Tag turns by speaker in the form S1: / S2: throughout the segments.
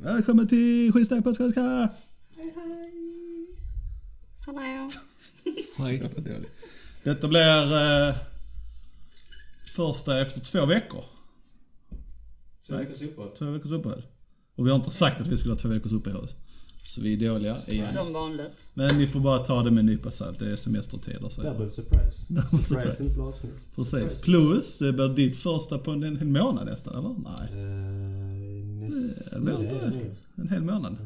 S1: välkommen till Skitsnack podcast.
S2: Hej hej! Hallå!
S1: Nej. Detta blir eh, första efter två veckor.
S3: Två veckors uppehåll.
S1: Två veckors uppehåll. Och vi har inte sagt att vi skulle ha två veckors uppehåll. Så vi är dåliga igen.
S2: Som vanligt.
S1: Men ni får bara ta det med en nypa salt. Det är semestertider. Så.
S3: Double surprise.
S1: Double surprise.
S3: Surprise inte på avsnitt.
S1: Precis.
S3: Surprise.
S1: Plus, det blir ditt första på en, en hel månad nästan, eller? Nej.
S3: Eh, näst-
S1: Det blir
S3: nej,
S1: inte
S3: det är det.
S1: rätt. En hel månad.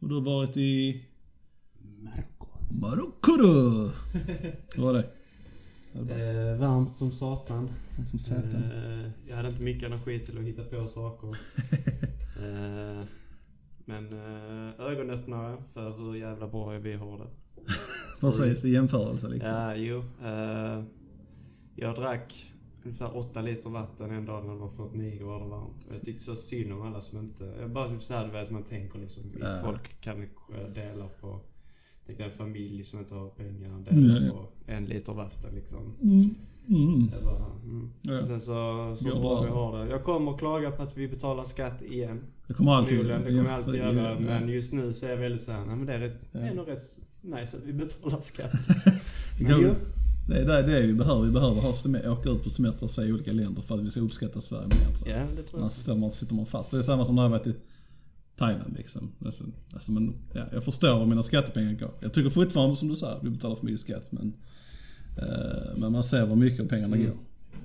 S1: Och du har varit i...
S3: Marocko.
S1: Marocko då! Hur var det?
S3: Eh, varmt som satan.
S1: Som satan.
S3: Eh, jag hade inte mycket energi till att hitta på saker. eh, men eh, ögonöppnare för hur jävla bra vi har det.
S1: Precis, i jämförelse liksom.
S3: Ja, jo. Eh, jag drack ungefär 8 liter vatten en dag när det var 49 grader varmt. Och jag tyckte så synd om alla som inte... Jag bara typ såhär, du vet, man tänker liksom.
S1: Ja.
S3: Folk kanske delar på... Tänk dig en familj som inte har pengar
S1: Ja,
S3: delar
S1: ja.
S3: på en liter vatten liksom.
S1: Mm. Mm.
S3: Jag bara, mm.
S1: Ja.
S3: Sen så, så
S1: Ja.
S3: bra vi har det. Jag kommer klaga på att vi betalar skatt igen.
S1: Det kommer alltid...
S3: Förmodligen, det kommer jag alltid
S1: Ja,
S3: göra.
S1: ja.
S3: Men just nu så är jag väldigt såhär, nej men det är, rätt, det
S1: Ja.
S3: är nog rätt nice att vi betalar skatt.
S1: Det
S3: men jo,
S1: kan- Det är det, det är vi behöver. Vi behöver ha semester, åka ut på semester och se olika länder för att vi ska uppskatta Sverige mer tror jag.
S3: Ja, det tror jag.
S1: Annars sitter man, sitter man fast. Det är samma som när jag varit i Thailand liksom. Alltså, alltså, men, ja, jag förstår var mina skattepengar går. Jag tycker fortfarande som du sa, vi betalar för mycket skatt men, eh, men man ser var mycket av pengarna går.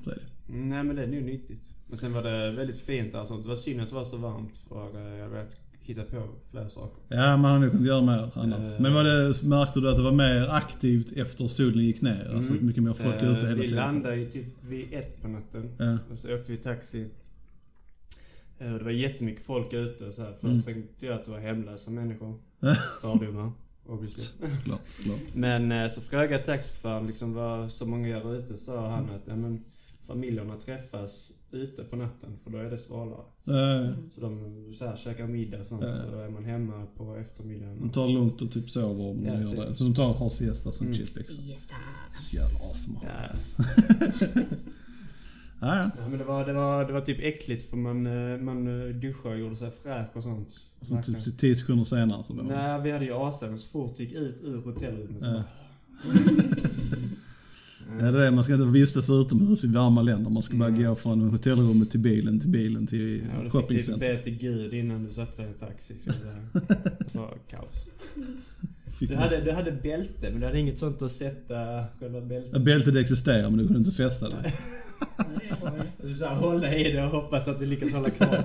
S1: Så är det.
S3: Mm, Nej men det är nog nyttigt. Men sen var det väldigt fint där och sånt. Det var synd att det var så varmt för eh, jag vet hitta på fler saker.
S1: Ja, man hade nog kunnat göra mer annars.
S3: Eh.
S1: Men var det, märkte du att det var mer aktivt efter solen gick ner? Alltså
S3: Mm.
S1: mycket mer folk
S3: Eh,
S1: ute hela
S3: vi
S1: tiden?
S3: landade ju typ vid ett på natten.
S1: Ja.
S3: Och så åkte vi taxi. Eh, och Det var jättemycket folk ute och så här. Först
S1: Mm.
S3: tänkte jag att det var hemlösa människor. Fördomar. Obviously.
S1: Såklart, såklart.
S3: Men eh, så frågade jag taxichauffören liksom vad så många gör ute. Så sa han att ja, men, familjerna träffas ute på natten för då är det svalare.
S1: Eh,
S3: Så de så här, käkar middag och sånt,
S1: Ja.
S3: så är man hemma på
S1: De
S3: eftermiddagen.
S1: tar det lugnt och typ sover om de
S3: Ja,
S1: gör
S3: typ.
S1: det. Så de tar har siesta som
S3: Mm.
S1: shit liksom.
S2: Siesta.
S1: Så jävla asmart.
S3: Ja,
S1: Ja, ja.
S3: ja, men det var, det, var, det var typ äckligt för man, eh, man eh, duschade och gjorde sig fräsch och sånt.
S1: Och sen typ 10 sekunder senare så blir man...
S3: Nej, vi hade ju AC, men så fort vi gick ut ur hotellrummet
S1: Ja.
S3: så
S1: Ja, det är det. Man ska inte vistas utomhus i varma länder. Man ska bara gå från hotellrummet till bilen, till bilen, till
S3: Mm. Ja, och du fick typ
S1: shoppingcenter.
S3: be till gud innan du satte dig i taxi. Så det det var kaos.
S1: Fick
S3: Du
S1: man-
S3: hade, du hade bälte, men du hade inget sånt att sätta själva
S1: Ja,
S3: bältet.
S1: Bältet existerar men du kunde inte fästa det.
S3: Du så här, hålla i det och hoppas att du lyckas hålla kvar.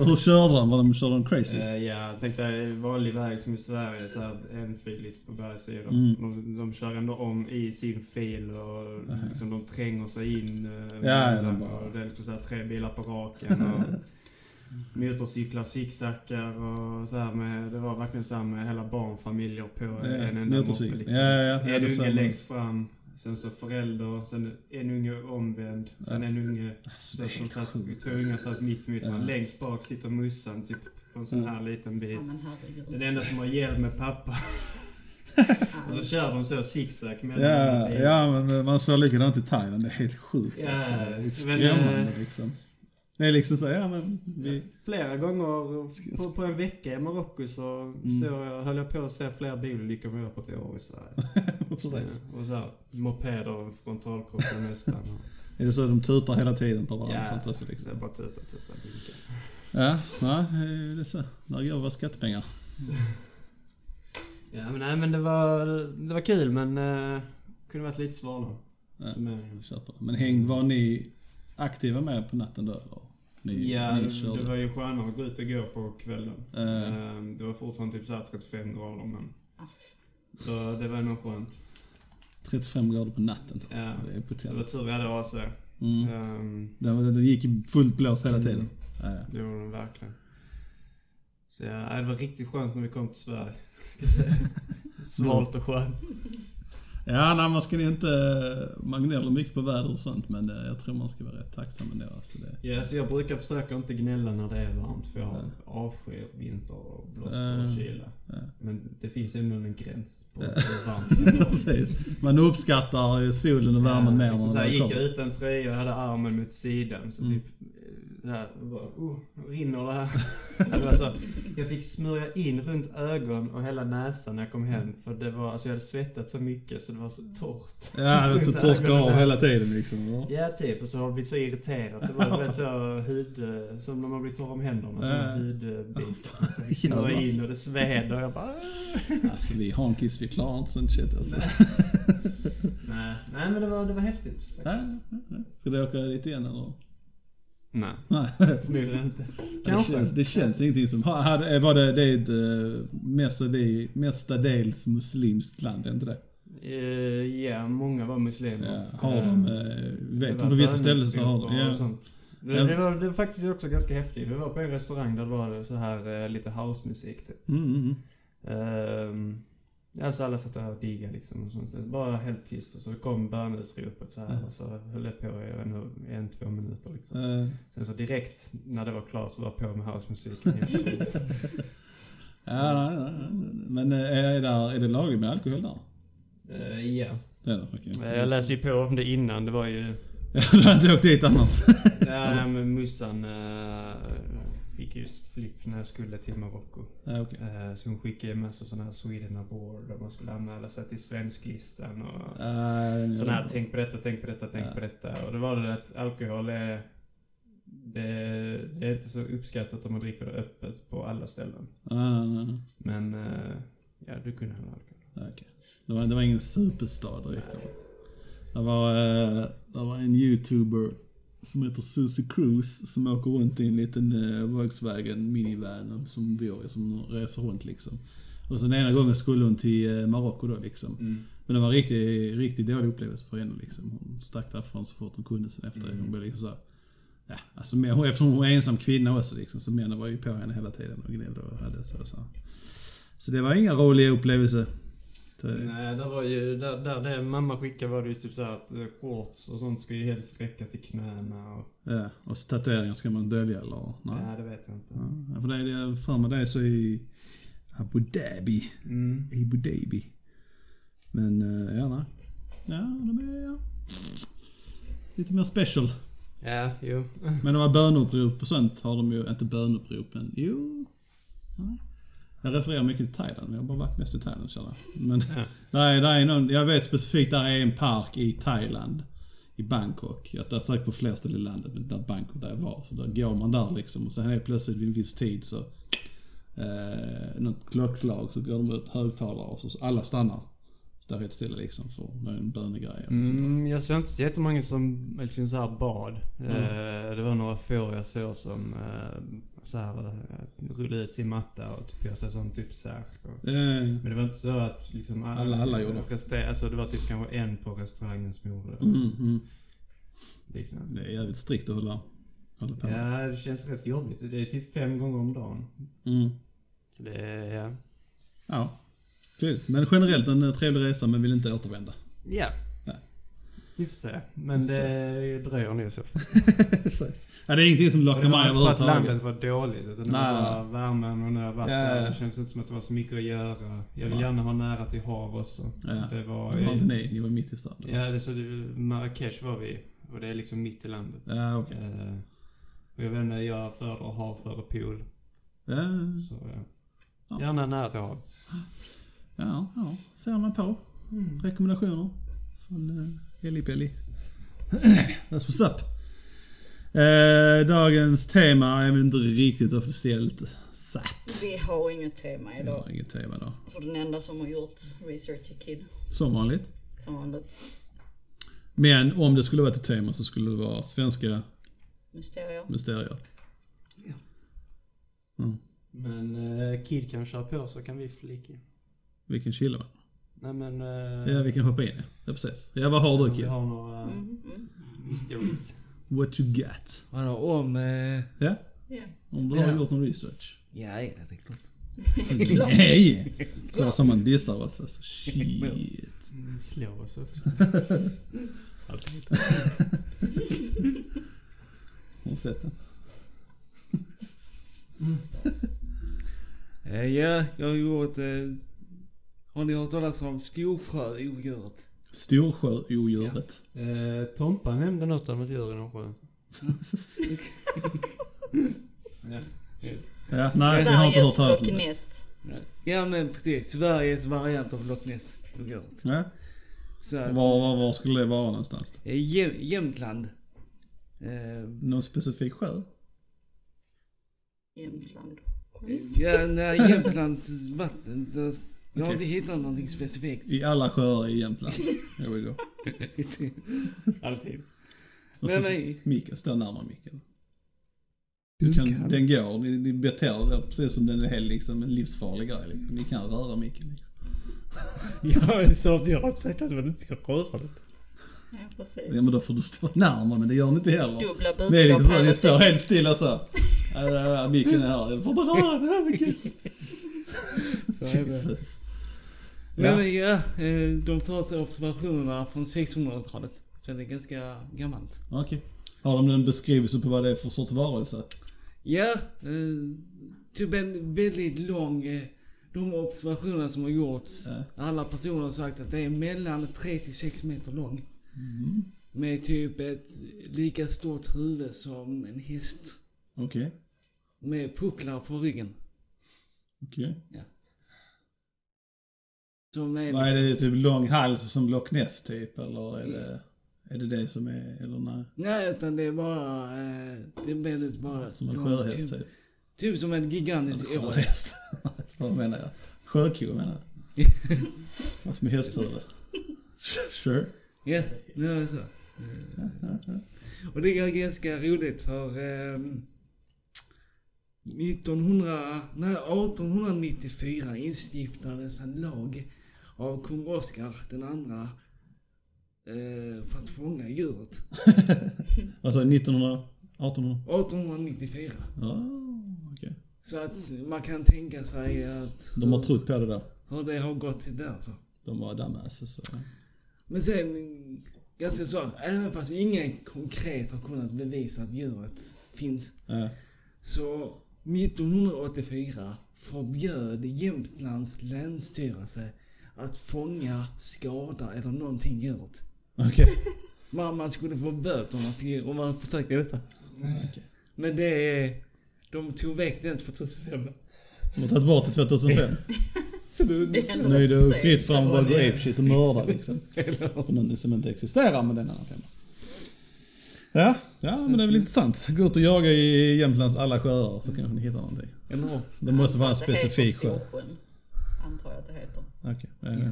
S1: Och hur körde de? Var de, körde de crazy?
S3: Eh, ja, jag tänkte vanlig väg som i Sverige, så här eh, en fil lite på varje sida.
S1: Mm.
S3: De, de kör ändå om i sin fil och liksom, de tränger sig in. eh,
S1: Ja, ja, de
S3: mellan
S1: bara-
S3: och det är liksom så här tre bilar på raken. Och motorcyklar zigzackar och så här med, Det var verkligen så här med hela barnfamiljer på en enda
S1: motorcykel.
S3: moppe. Liksom.
S1: Ja, ja, ja. Ja,
S3: En
S1: det
S3: unge
S1: samma.
S3: längst fram, sen så förälder, sen en unge omvänd, sen en unge
S1: Alltså,
S3: så
S1: det är
S3: som
S1: helt
S3: satt,
S1: sjukt. alltså.
S3: två ungar satt mitt emot varandra.
S1: Ja. Mm.
S3: Längst bak sitter mussan typ på en sån här liten bit.
S2: Ja men herregud.
S3: Den enda som har hjälm är pappa. Och så kör de så zigzag mellan
S1: Ja,
S3: bilarna.
S1: ja, men man såg likadant i Thailand. Det är helt sjukt
S3: Ja,
S1: alltså. Det är
S3: men,
S1: skrämmande
S3: eh,
S1: liksom. Det är liksom så, ja men vi...
S3: Flera gånger på, på en vecka i Marocko så,
S1: Mm.
S3: så jag, höll jag på att se fler bilolyckor än vad jag på ett år i Sverige.
S1: Precis.
S3: Ja, och så här, mopeder frontalkrockar nästan.
S1: Är det så de tutar hela tiden på
S3: Och,
S1: varandra?
S3: ja,
S1: sånt alltså, liksom.
S3: det är bara tuta, tuta, vinka.
S1: Ja, ja, eh, det är så. Där går våra skattepengar.
S3: Ja men nej men det var, det var kul men eh, kunde varit lite svalare.
S1: Ja.
S3: Som är-
S1: Jag köper. Men häng, var ni aktiva med på natten då? Eller? Ni,
S3: Ja,
S1: ni
S3: det
S1: körde?
S3: var ju skönare att gå ut och gå på kvällen.
S1: Eh.
S3: Ehm, Det var fortfarande typ så här 35 grader men så det var nog skönt.
S1: 35 grader på natten.
S3: Ja.
S1: Det är
S3: Så det var
S1: potent.
S3: tur vi hade AC.
S1: Mm.
S3: Ehm,
S1: Det, var, det gick i fullt blås hela
S3: Mm.
S1: tiden. Ja, ja.
S3: Det gjorde de verkligen. Så ja, äh, det var riktigt skönt när vi kom till Sverige. Ska jag säga. Svalt och skönt.
S1: ja nej, man ska ju inte... eh, Man gnäller mycket på väder och sånt men eh, jag tror man ska vara rätt tacksam ändå. Alltså det.
S3: Ja, så jag brukar försöka inte gnälla när det är varmt för jag
S1: Ja.
S3: avskyr vinter och blåster och
S1: Ja.
S3: kyla.
S1: Ja.
S3: Men det finns ändå en gräns på
S1: Ja.
S3: hur varmt det är.
S1: Precis. Man uppskattar solen och värmen mer
S3: liksom
S1: när
S3: så här,
S1: man
S3: gick jag
S1: kommer. Mm.
S3: utan tröja och hade armen mot sidan så typ eh, här, bara, oh, rinner det här. Ja, det var så, jag fick smörja in runt ögon och hela näsan när jag kom hem. För det var, alltså jag hade svettat så mycket så det var så torrt.
S1: Ja, det så
S3: Runt
S1: torkar
S3: ögonen
S1: av
S3: där.
S1: hela tiden liksom. va?
S3: Ja, typ. Och så har det blivit så irriterat. Så var det rätt så hud... eh, Som när man blir torr om händerna. Så
S1: Ja.
S3: äh. hudbit. Knurrar in och det sväder. Jag bara... "Åh."
S1: Alltså vi hankis, vi klarar inte sånt shit alltså.
S3: Nej, nej men det var, det var häftigt.
S1: Nej,
S3: Faktiskt.
S1: nej, nej. Ska du åka dit igen eller?
S3: Nej.
S1: Nej.
S3: Blir det inte.
S1: Det
S3: Kanske.
S1: känns, det känns ingenting som... ha- hade- Var det, det är ett eh, mestadels, mestadels muslimskt land, är inte det?
S3: Eh, Ja, många var muslimer.
S1: Ja, har
S3: Eh,
S1: de... eh,
S3: det
S1: Vet
S3: var
S1: de på vissa ställen så har de...
S3: böneutrop och
S1: Ja.
S3: sånt. Det,
S1: Ja.
S3: det, var, det var faktiskt också ganska häftigt. Vi var på en restaurang där det var så här eh, lite housemusik typ.
S1: Mm, mm, mm.
S3: Ehm, alltså alla satt där och diggade liksom. Och sånt. Bara helt tyst. Och så kom böneutropet så här.
S1: Ja.
S3: Och så höll jag på i en, en två minuter liksom.
S1: Eh,
S3: Sen så direkt när det var klart så var jag på med housemusiken. igen.
S1: Ja, nej, nej, nej. Men eh, är, där, är det lagligt med alkohol där?
S3: Eh, Ja.
S1: Det är det, okej.
S3: Eh, Jag läste ju på om det innan. Det var ju...
S1: Du har inte åkt dit annars?
S3: Nej, men mussan eh, fick ju flipp när jag skulle till Marocko.
S1: Ja, okej.
S3: Eh, Så hon skickade en massa sådana här Sweden Award och man skulle anmäla sig till svensklistan och
S1: Eh,
S3: sådana här tänk på detta, tänk på detta, tänk
S1: Ja.
S3: på detta. Och då var det att alkohol är det, det är inte så uppskattat om man dricker det öppet på alla ställen.
S1: Ah, nej, nej, nej.
S3: Men eh, ja, du kunde ha alkohol.
S1: Ja, okej. Det, var, det var ingen superstad direkt. eller? Det var, eh, det var en youtuber som heter Susie Cruz som åker runt i en liten eh, Volkswagen minivan som vi har, som reser runt liksom. Och sen ena gången skulle hon till eh, Marocko då liksom. Men det var en riktigt, riktigt dålig upplevelse för henne liksom. Hon stack därifrån så fort hon kunde sen efter.
S3: Mm.
S1: Hon blev liksom så här, ja, alltså, men- och eftersom hon var ensam kvinna också liksom, så männen var ju på henne hela tiden och gnällde och hade så, så. så det var inga roliga upplevelser. Det-
S3: Nej, där var ju, där, där det mamma skickade var det ju typ så här att eh, shorts och sånt ska ju helst räcka till knäna och...
S1: Ja, och så tatueringar ska man dölja eller? Nej.
S3: Nej, det vet jag inte.
S1: Ja, för det är det, för mig det är så i Abu Dhabi.
S3: Mm.
S1: Abu Dhabi. Men eh, ja, nej. Ja, de är ja. lite mer special.
S3: Ja, jo.
S1: Men de här böneutrop och sånt har de ju, inte böneutrop men jo. Nej. Jag refererar mycket till Thailand, men jag har bara varit mest i Thailand känner jag. Men
S3: Ja.
S1: där är, där är någon, jag vet specifikt, där är en park i Thailand. I Bangkok. Jag har sagt på fler ställen i landet, men där Bangkok där jag var. Så där går man där liksom och sen är plötsligt vid en viss tid så... Eh, något klockslag så går de ut högtalare och så, så alla stannar. Står helt stilla liksom för det är en bönegrej.
S3: Mm, jag såg inte så jättemånga som liksom så här bad.
S1: Mm.
S3: Eh, det var några få jag såg som eh, så här, eh, rullade ut sin matta och tog på sig sån typ särk. och-
S1: Eh,
S3: Men det var inte så att liksom
S1: Alla- alla gjorde.
S3: Reste, alltså det var typ kanske en på restaurangen som gjorde det.
S1: mm, mm.
S3: liknande.
S1: Det är jävligt strikt att hålla, hålla på med.
S3: Ja, det känns rätt jobbigt. Det är typ fem gånger om dagen.
S1: Mm.
S3: Så det är, ja.
S1: Ja. Precis. Men generellt en eh, trevlig resa men vill inte återvända.
S3: Ja.
S1: Nej.
S3: Vi får se. Men det dröjer nog så.
S1: Precis. Ja, det är ingenting som lockar
S3: Det var
S1: mig
S3: inte för att
S1: överhuvudtaget.
S3: landet var dåligt utan det
S1: Nej,
S3: var bara värmen och när vatten.
S1: Ja, ja, ja.
S3: Det kändes inte som att det var så mycket att göra. Jag vill
S1: Nej.
S3: gärna ha nära till hav också.
S1: Ja.
S3: Det var...
S1: Det var inte ni, ni var mitt i stan.
S3: ja, det, så det, Marrakesh var vi och det är liksom mitt i landet.
S1: Ja, okej.
S3: Eh, och jag vet inte, jag föredrar hav före pool.
S1: Ja,
S3: Så, ja.
S1: Ja.
S3: Gärna nära till hav.
S1: ja, ja. Ser man på. Mm. Rekommendationer. Från eh, Eli Belly. That's what's up. Eh, dagens tema är väl inte riktigt officiellt satt.
S2: Vi har inget tema
S1: Jag
S2: idag.
S1: har inget tema då.
S2: För den enda som har gjort research är Kid.
S1: Som vanligt.
S2: Som vanligt.
S1: Men om det skulle vara ett tema så skulle det vara svenska
S2: Mysterier.
S1: mysterier.
S3: Men eh, Kid kan köra på så kan vi flika in.
S1: Vi kan chilla med.
S3: Nej men... eh,
S1: Ja, vi kan hoppa in. Ja, precis. Ja, vad har du
S3: Vi
S1: Kim?
S3: har några
S2: Mm, mm.
S3: histories.
S1: What you got?
S4: Vadå om... Eh,
S1: Ja,
S2: Ja.
S1: om du har gjort någon research.
S4: ja, ja, det är klart.
S1: Nej! Kolla som man dissar oss alltså. Shit.
S3: Mm, Slå oss också.
S1: Har du sett den?
S4: Eh, ja, jag har gjort... Eh, har ni hört talas om Storsjöodjuret?
S1: Storsjöodjuret.
S3: Eh, Tompa nämnde något om ett djur i någon sjö.
S1: Ja, nej, vi har inte hört
S2: Sveriges
S1: talas om
S2: Loch
S1: det.
S2: Ness.
S4: Ja men precis, Sveriges variant av Loch Ness-odjuret.
S1: Ja.
S4: Så att,
S1: Var, var, var skulle det vara någonstans? då?
S4: eh, Jäm- Jämtland. Eh,
S1: Någon specifik sjö?
S2: Jämtland.
S1: Mm.
S4: ja, nej, Jämtlands vatten. Där, jag har
S1: Okej.
S4: inte hittat någonting specifikt.
S1: I alla sjöar i Jämtland. Here we go.
S3: Alltid.
S1: Och
S4: Nej,
S1: så-
S4: nej.
S1: Mikael, stå närmare Mikael. Du kan, den går, ni, ni beter er precis som den är helt liksom en livsfarlig grej. Liksom. Ni kan röra Mikael. Liksom.
S3: Jag sa att jag har sagt att man inte ska röra den.
S2: Ja, precis.
S1: Ja men då får du stå närmare men det gör ni inte heller.
S2: Dubbla budskap
S1: Det är liksom så,
S2: här,
S1: ni
S2: jag
S1: står
S2: tänker.
S1: helt stilla så. Äh, äh, äh, Mikael är här, jag får inte röra den här Mikael.
S4: Så är det.
S1: Jesus.
S4: Men
S1: Ja.
S4: eh, ja, eh, de första observationerna från 1600-talet. Så det är ganska gammalt.
S1: Okej. Har de en beskrivelse på vad det är för sorts varelse?
S4: Ja, eh, typ en väldigt lång... Eh, de observationer som har gjorts.
S1: Ja.
S4: Alla personer har sagt att det är mellan 3 till 6 meter lång.
S1: Mm.
S4: Med typ ett lika stort huvud som en häst.
S1: Okej.
S4: Med pucklar på ryggen.
S1: Okej.
S4: Som är...
S1: Vad är det, typ lång hals som Loch Ness typ eller är det, är det det som är, eller nej?
S4: Nej, utan det är bara... Eh, det är väldigt bara...
S1: Som en
S4: ja,
S1: sjöhäst
S4: Typ,
S1: typ?
S4: typ som en gigantisk
S1: En
S4: ål.
S1: sjöhäst. Vad menar jag? Sjöko menar jag. Fast med hästhuvud. Sure.
S4: Ja, det är så.
S1: Ja, ja, ja.
S4: Och det är ganska roligt för... ehm, 1900, nej, 1894 instiftades en lag av kung Oscar den andra eh, för att fånga djuret.
S1: Alltså 1900? 1800?
S4: 1894.
S1: Ja, okej.
S4: Så att man kan tänka sig att...
S1: De har trott på det där.
S4: Hur det har gått till där så.
S1: De var dumbasses. så.
S4: Men sen, ganska så, även fast ingen konkret har kunnat bevisa att djuret finns.
S1: Ja.
S4: Så 1984 förbjöd Jämtlands länsstyrelse att fånga, skada eller någonting djuret.
S1: Okej.
S4: Man, man skulle få böter om man, fick- om man försökte detta.
S1: Okej.
S4: Men det är... De tog väck den 2005.
S1: De har tagit bort det 2005.
S4: Så det,
S2: Det händer
S1: Nu är det
S2: inte
S1: fritt
S2: sällan.
S1: fram att bara gå apeshit och mörda liksom. För någonting som inte existerar men det är en annan femma. Ja, ja men det är väl intressant. Gå ut och jaga i Jämtlands alla sjöar så kanske ni hittar någonting.
S4: eller hur?
S1: Det måste vara en
S2: Antar att det
S1: specifik sjö.
S2: heter Storsjön. Antar jag att det heter.
S1: Okej. ja, ja.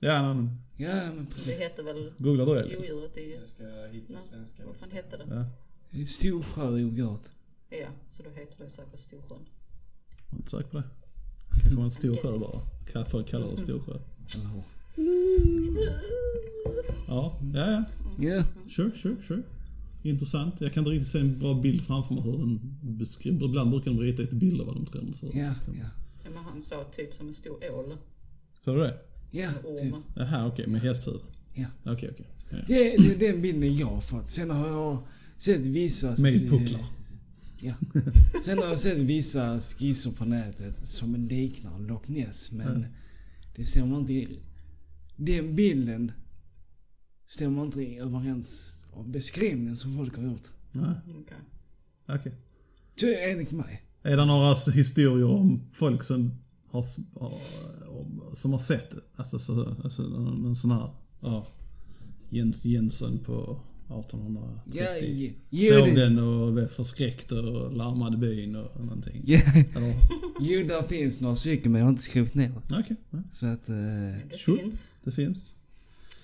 S1: Ja, men
S4: Ja, men
S2: Det
S4: precis.
S2: heter väl
S1: googla du eller?
S2: odjuret i...
S3: Jag ska hitta svenska.
S2: Vad fan hette det?
S1: Ja,
S4: Storsjöodjuret.
S2: Ja, så då heter det säkert Storsjön.
S1: jag är inte säker på det. Kanske var en stor sjö bara. Kan Folk kallar det Storsjö.
S4: Eller hur?
S1: Ja, ja, ja.
S4: Ja.
S1: Sure, sure, sure. Intressant. Jag kan inte riktigt se en bra bild framför mig hur den beskriver. Ibland brukar de rita ett bild av vad de tror de ser ut.
S4: Ja,
S1: liksom.
S4: ja.
S2: Ja, men han sa typ som en stor ål.
S1: Sa du det?
S4: Ja, typ.
S2: Orm.
S1: Jaha, okej. med hästhuvud?
S4: Ja.
S1: Okej, okej. Ja.
S4: Det, det är den bilden jag har fått. Sen har jag sett vissa...
S1: Med pucklar.
S4: Ja. Sen har jag sett vissa skisser på nätet som liknar Loch Ness men
S1: Mm.
S4: det stämmer inte. i- Den bilden stämmer inte i överens av beskrivningen som folk har gjort.
S1: Nej,
S2: Okej.
S1: Okej.
S4: Ty- Enligt mig.
S1: Är det några s- historier om folk som har, s- har, om- som har sett det? Alltså, så, alltså någon någon sån här... Ja. Jens, Jensen på 1830.
S4: Ja, ge,
S1: Såg
S4: det.
S1: den och blev förskräckt och larmade byn och någonting.
S4: Ja,
S1: Eller?
S4: jo, där finns några stycken men jag har inte skrivit ner.
S1: Okej, ja,
S4: Så att... Eh,
S2: Det
S1: Sure.
S2: finns.
S1: det finns.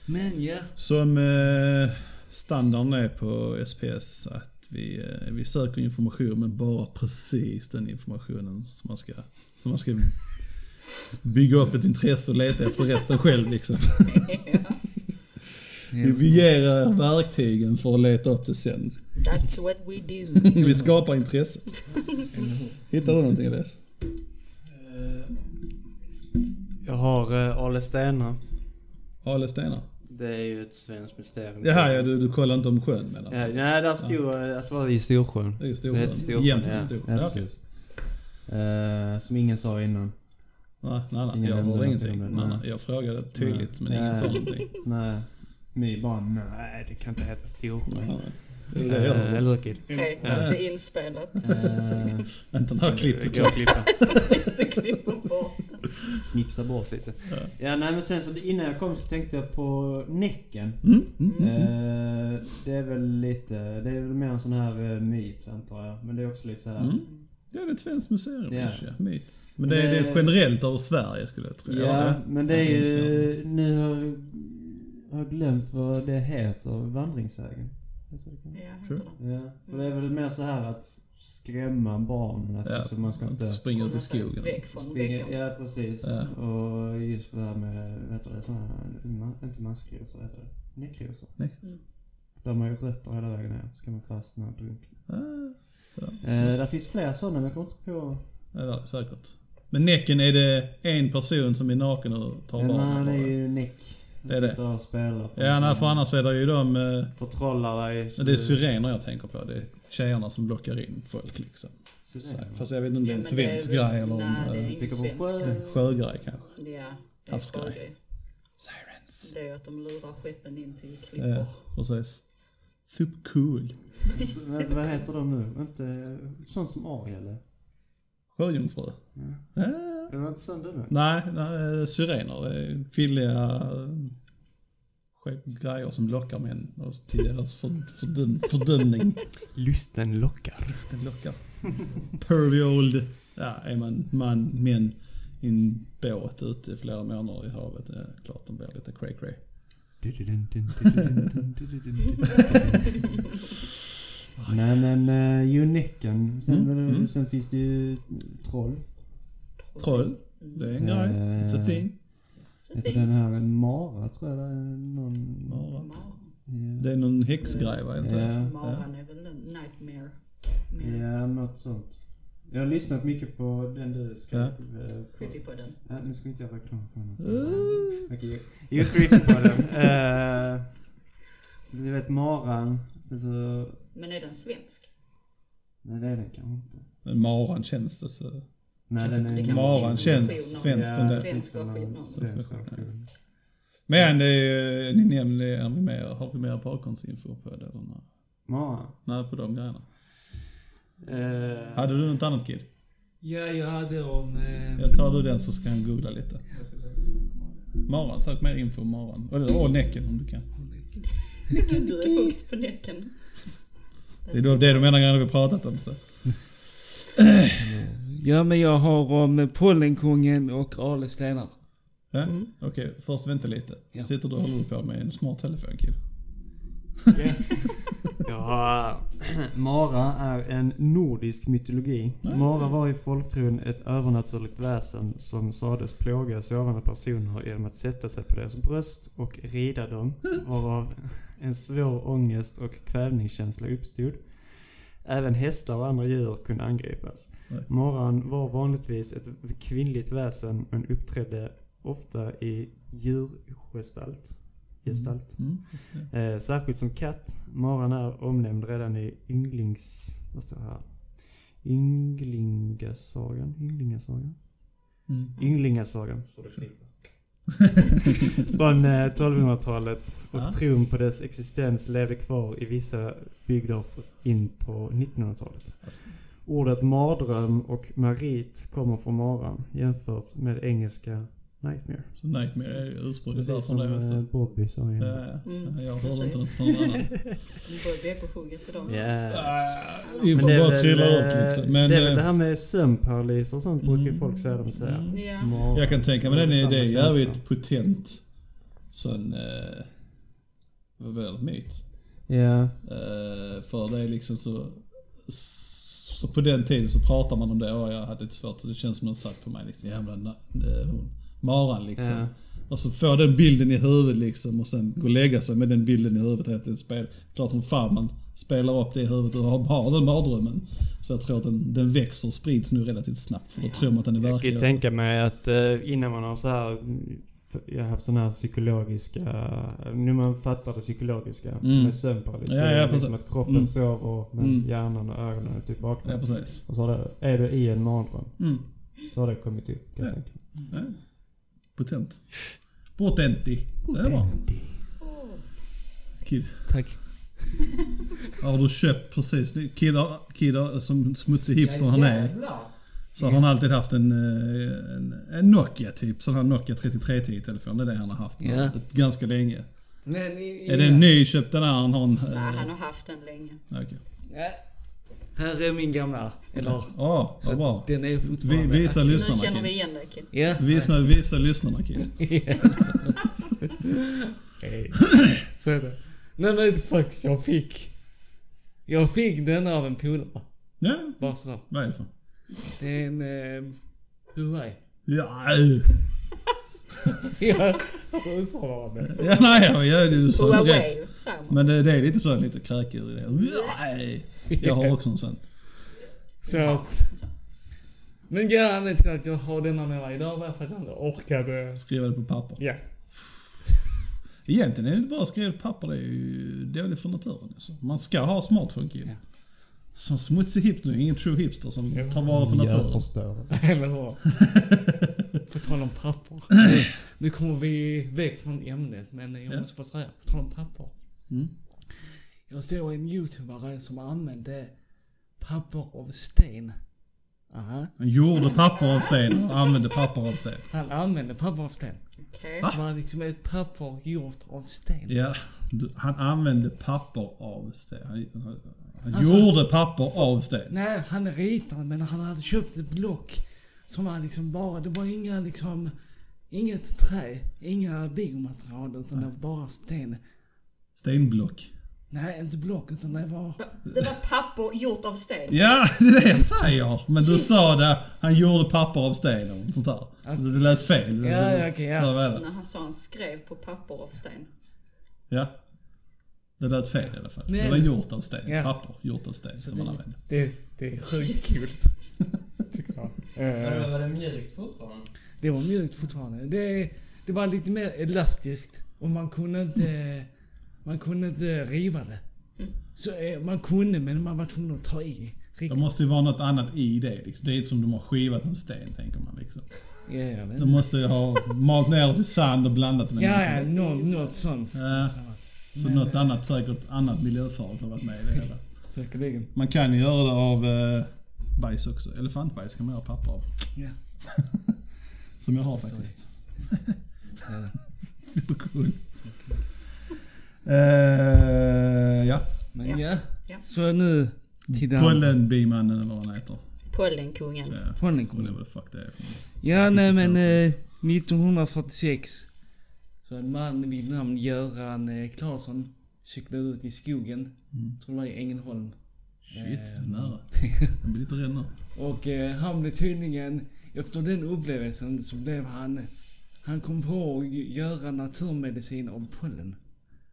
S4: men ja.
S1: Som eh, standarden är på SPS att vi, eh, vi söker information men bara precis den informationen som man ska, som man ska bygga upp ett intresse och leta efter resten själv. Liksom. Vi- Vi ger er verktygen för att leta upp det sen.
S2: That's what we do.
S1: Vi skapar intresset. Hittar du någonting Elias?
S3: Jag har eh, Ale Stena.
S1: Ale stenar?
S3: Det är ju ett svenskt mysterium.
S1: Jaha, ja, du, du kollar inte om sjön menar
S3: Ja,
S1: du?
S3: nej, där stod eh, att det var i Storsjön.
S1: Det är
S3: Det
S1: Storsjön.
S3: heter Storsjön,
S1: Jämtlands
S3: ja.
S1: Storsjön.
S3: Ja,
S1: Ja.
S3: precis. Eh, som ingen sa innan.
S1: Nej, nej, nej.
S3: Ingen
S1: Jag
S3: nämnde
S1: hörde ingenting.
S3: någonting om det.
S1: Nej, nej. Jag frågade tydligt men ingen
S3: Nej.
S1: sa någonting.
S3: Nej. My bara, nej det kan inte heta Storsjön.
S1: Nej, nej. Det är det jag
S3: Eh,
S1: gör.
S3: Eller Kid.
S2: Hej,
S3: Ja.
S2: allt är inspelat.
S3: Eh,
S1: Inte det här klippet.
S3: Gå och klippa.
S2: Precis, det klipper bort.
S3: Knipsa bort lite. Ja, nej men sen så innan jag kom så tänkte jag på Näcken.
S1: Mm, mm.
S3: Eh, det är väl lite, det är väl mer en sån här eh, myt antar jag. Men det är också lite så här.
S1: Mm. Ja, det är ett svenskt museum.
S3: Ja.
S1: ish, Ja. Myt. Men det är, det
S3: Men-
S1: är generellt över Sverige skulle jag tro.
S3: Ja, men det är
S1: finns
S3: ju... Nu har jag har glömt vad det heter, vandringssägen. Heter det kanske?
S2: Ja, heter
S1: Sure.
S2: det.
S3: Ja, för det är väl mer så här att skrämma barnen. Att
S1: Ja,
S3: liksom man ska inte...
S1: Springa ut i skogen.
S2: Väck från
S3: Springa,
S2: veckan.
S3: ja, precis.
S1: Ja.
S3: Och just det här med, vad heter det, såna här, ma- inte maskrosor, heter det? Näckrosor.
S1: Nej.
S3: De har ju rötter hela vägen ner, så kan man fastna och drunkna.
S1: Ah,
S3: Eh, där finns fler sådana, men jag kommer inte på...
S1: Ah, ja, det är säkert. Men Näcken, är det en person som är naken och tar
S3: Men
S1: barn?
S3: han är
S1: eller?
S3: ju Näck.
S1: Det är det.
S3: Sitter och spelar. på
S1: Ja,
S3: en
S1: nej,
S3: sån-
S1: för annars är det ju de... eh,
S3: Förtrollar dig.
S1: Det är syrener jag tänker på. Det är tjejerna som lockar in folk liksom. Så, fast jag vet inte om det är en
S2: Ja, men det är
S1: svensk
S2: väl-
S1: grej eller om...
S2: Nej, det är
S1: eh,
S2: inte
S3: Tänker på
S2: svensk.
S3: sjö.
S1: Sjögrej kanske.
S2: Ja, det är
S1: Havsgrej.
S2: sjögrej.
S1: Sirens.
S2: Det är att de lurar skeppen in till klippor.
S1: Ja, precis. Supercool.
S3: Vänta, vad heter de nu? Inte sånt som Ariel?
S1: Sjöjungfru.
S3: Ja.
S1: Ja.
S3: Det var inte sån du nu?
S1: Nej, nej, syrener. Det är kvinnliga eh, grejer som lockar män och till deras för, fördöm, fördömning.
S3: Lusten lockar.
S1: Den lockar. Pervy old. Ja, är man man, män i en båt ute i flera månader i havet. Det är klart de blir lite cray cray.
S3: Nej men, eh, jo Näcken. Sen,
S1: Mm,
S3: var det-
S1: mm.
S3: sen finns det ju troll. Eh,
S1: Troll. Det är en grej. It's a thing.
S2: Mm. Så
S3: Heter
S2: det-
S3: den här en mara tror jag det är någon...
S1: Mara.
S2: Maran.
S1: Det är någon häxgrej va? Inte?
S3: Ja.
S2: Maran är väl en nightmare.
S3: Ja,
S2: Mer
S3: ja, något sånt. Jag har lyssnat mycket på den du skrev.
S1: Ja.
S3: eh, på-
S2: creepy på den.
S3: Nej, nu ska inte jag reklam för honom.
S1: Uh.
S3: Okej, jag creepy på den. Eh, Du vet maran, sen så...
S2: Men är den svensk?
S3: Nej det är den kanske inte.
S1: Men maran känns det så.
S3: Nej den
S2: Det
S3: är...
S2: kan
S1: Maran
S2: finnas
S1: känns
S2: versioner.
S1: svensk den där.
S2: Svensk. version.
S3: Svensk version.
S1: Men det är ju, ni nämnde, är vi mer, har vi mer bakgrundsinfo på det? Eller? nej?
S3: Maran.
S1: Nej, på de grejerna.
S3: Eh,
S1: Hade du något annat kid?
S4: Ja, jag hade om... Eh,
S1: Jag tar du den så ska han googla lite. Maran, sök mer info om maran. Eller åh, näcken om du kan.
S2: Näcken, du är högt på näcken.
S1: Det är då- det är de enda grejerna vi pratat om. Så.
S4: ja, men jag har om Pollenkungen och Ale Stenar.
S1: Ja?
S2: Mm.
S1: Okej, först vänta lite.
S4: Ja.
S1: Sitter du och håller på med en smart telefon kid?
S3: Ja, Mara är en nordisk mytologi. Mara var i folktron ett övernaturligt väsen som sades plåga sovande personer genom att sätta sig på deras bröst och rida dem, varav en svår ångest och kvävningskänsla uppstod. Även hästar och andra djur kunde angripas.
S1: Nej.
S3: Maran var vanligtvis ett kvinnligt väsen men uppträdde ofta i djurgestalt. Gestalt.
S1: Mm.
S3: Eh, särskilt som katt. Maran är omnämnd redan i ynglings... Vad står det här? Ynglingasagan? Ynglingasagan?
S1: Mm.
S3: Ynglingasagan. Från eh, 1200-talet och
S1: Ja.
S3: tron på dess existens levde kvar i vissa bygder f- in på 1900-talet. Ordet mardröm och marit kommer från maran jämfört med engelska nightmare.
S1: Så Nightmare är ursprunget
S3: Precis
S1: därifrån
S3: som
S1: det
S3: eh,
S1: också.
S3: Bobby sa
S1: Ja,
S3: innan.
S1: ja.
S2: Mm,
S1: Jag hörde inte
S2: precis.
S1: någon annan.
S2: De börjar bli på hugget idag.
S3: Yeah.
S1: Äh, info
S3: det är
S1: bara
S3: väl,
S1: trillar
S3: eh,
S1: ut liksom. Men
S3: det är väl
S1: eh,
S3: det här med sömnparalys och sånt brukar ju folk säga de säger.
S1: Mm.
S2: Ja.
S3: Mar-
S1: jag kan tänka mig den är,
S3: samma
S1: det är
S3: känsla.
S1: jävligt potent sån... Eh, vad var det? Myt.
S3: Ja.
S1: Eh, för det är liksom så... Så på den tiden så pratar man om det. Och jag hade ett svårt så det känns som någon satt på mig liksom. Jävla na- eh, hon. Maran liksom.
S3: Ja.
S1: Och så får den bilden i huvudet liksom och sen gå och lägga sig med den bilden i huvudet. Att det är ett spel. Klart som fan man spelar upp det i huvudet och har, har den mardrömmen. Så jag tror att den, den växer och sprids nu relativt snabbt. För då tror man att den är
S3: Jag kan
S1: verklig.
S3: ju
S1: också.
S3: tänka mig att eh, innan man har så här f- jag har haft såna här psykologiska, nu man fattar det psykologiska
S1: Mm.
S3: med sömnparalys.
S1: Ja,
S3: det
S1: ja,
S3: är liksom
S1: precis.
S3: att kroppen
S1: Mm.
S3: sover men
S1: Mm.
S3: hjärnan och ögonen är typ vakna.
S1: Ja precis.
S3: och så har det, är du i en mardröm.
S1: Mm.
S3: Så har det kommit upp kan jag
S1: Ja.
S3: tänka mig.
S1: Ja. Potent. Potenti. Det är bra.
S3: Potenti.
S1: Kid.
S4: Tack.
S1: Har du köpt precis ny- Kidda, kidda som smutsig hipster han är.
S4: Jävlar.
S1: Så har han alltid haft en, eh, en, en Nokia typ. Sån här Nokia 3310 telefon. Det är det han har haft nu.
S4: Ja.
S1: ganska länge.
S4: Men, i-
S1: Är det en ny köpt den där han har en...
S2: Nej,
S1: eh,
S2: han har haft den länge.
S1: Okej.
S4: Ja. Här är min gamla. Eller,
S1: Ja,
S4: så
S1: vad bra.
S4: att den är
S1: Vi,
S4: fortfarande...
S1: visa
S2: Nu
S1: lyssnarna
S2: känner vi
S1: Kim.
S2: igen dig Kim.
S4: Ja.
S1: Visa, visa lyssnarna Kim.
S4: Hej. Så är det. Nej men faktiskt, jag fick... Jag fick den av en polare.
S1: Ja,
S4: Bara sådär.
S1: vad är det för?
S4: Det är en... Eh, Huawei.
S1: Ja,
S4: Ja, hur uttalar man det?
S1: ja nej, ja, ja, du sa det rätt.
S2: Huawei, samma.
S1: Men det, det är lite så, lite kräkdjur i det. Nej. Jag har också en sån.
S4: Så att... Men grejen anledningen till att jag har denna med mig idag var för att jag inte orkade...
S1: Skriva det på papper.
S4: Ja.
S1: Egentligen är det bara att skriva på papper, det är ju dåligt för naturen. Alltså. Man ska ha smartphone kid.
S4: Ja.
S1: Som smutsig hipster, ingen true hipster som
S4: Ja.
S1: tar vara på naturen.
S4: Eller hur? På tal om papper. Nu kommer vi väck från ämnet men jag
S1: Ja.
S4: måste bara säga, på tal om papper.
S1: Mm.
S4: Jag såg en youtubare som använde papper av sten. Aha.
S1: Han gjorde papper av sten och använde papper av sten.
S4: Han använde papper av sten.
S2: Okej.
S4: Det var liksom ett papper gjort av sten.
S1: Ja, du, han använde papper av sten. Han, han, han
S4: Alltså-
S1: gjorde papper av sten.
S4: Nej, han ritade men han hade köpt ett block som var liksom bara, det var inga liksom, inget trä, inga biomaterial utan det var bara sten.
S1: Stenblock.
S4: Nej, inte block utan det var...
S2: Det var papper gjort av sten.
S1: Ja, det är det jag säger! Men du
S2: Jesus.
S1: sa det, han gjorde papper av sten och sånt där. Du, du lät fel.
S4: Alltså- Ja, ja, okej, ja.
S1: Så var det.
S2: När han sa han skrev på papper av sten.
S1: Ja. Det lät fel i alla fall.
S4: Nej.
S1: Det var gjort av sten.
S4: Ja.
S1: Papper gjort av sten som man använde.
S4: Det, det är sjukt
S2: Jesus.
S4: kul. Tycker jag. Eh,
S5: Var det mjukt fortfarande?
S4: Det var mjukt fortfarande. Det, det var lite mer elastiskt. Och man kunde inte... Man kunde inte riva det. Så, eh, man kunde men man var tvungen att ta i.
S1: Det
S4: Riktigt.
S1: måste ju vara något annat i det. Liksom. Det är som de har skivat en sten, tänker man. Liksom.
S4: Ja, jag vet.
S1: De måste ju ha malt ner det till sand och blandat med
S4: Ja,
S1: något.
S4: ja, nå- något sånt.
S1: Ja, så
S4: Men,
S1: något
S4: eh,
S1: annat säkert, annat miljöfarligt har varit med i det hela.
S4: Säkerligen.
S1: Man kan ju göra det av eh, bajs också. Elefantbajs kan man göra papper av.
S4: Ja.
S1: Som jag har faktiskt. Super cool. Eh, ja.
S4: Men ja.
S2: Ja. Ja.
S4: Så nu till det här.
S1: Pollenbimannen eller vad han heter.
S2: Pollenkungen.
S1: Ja. Eller
S4: Pollenkornen.
S1: vad the fuck det är.
S4: Ja, nej men eh, 1946 så en man vid namn Göran eh, Claesson cyklade ut i skogen, tror det var i Ängelholm.
S1: Shit, nära. Jag blir lite rädd nu.
S4: Och eh, han blev tydligen, efter den upplevelsen så blev han, han kom på att göra naturmedicin av pollen.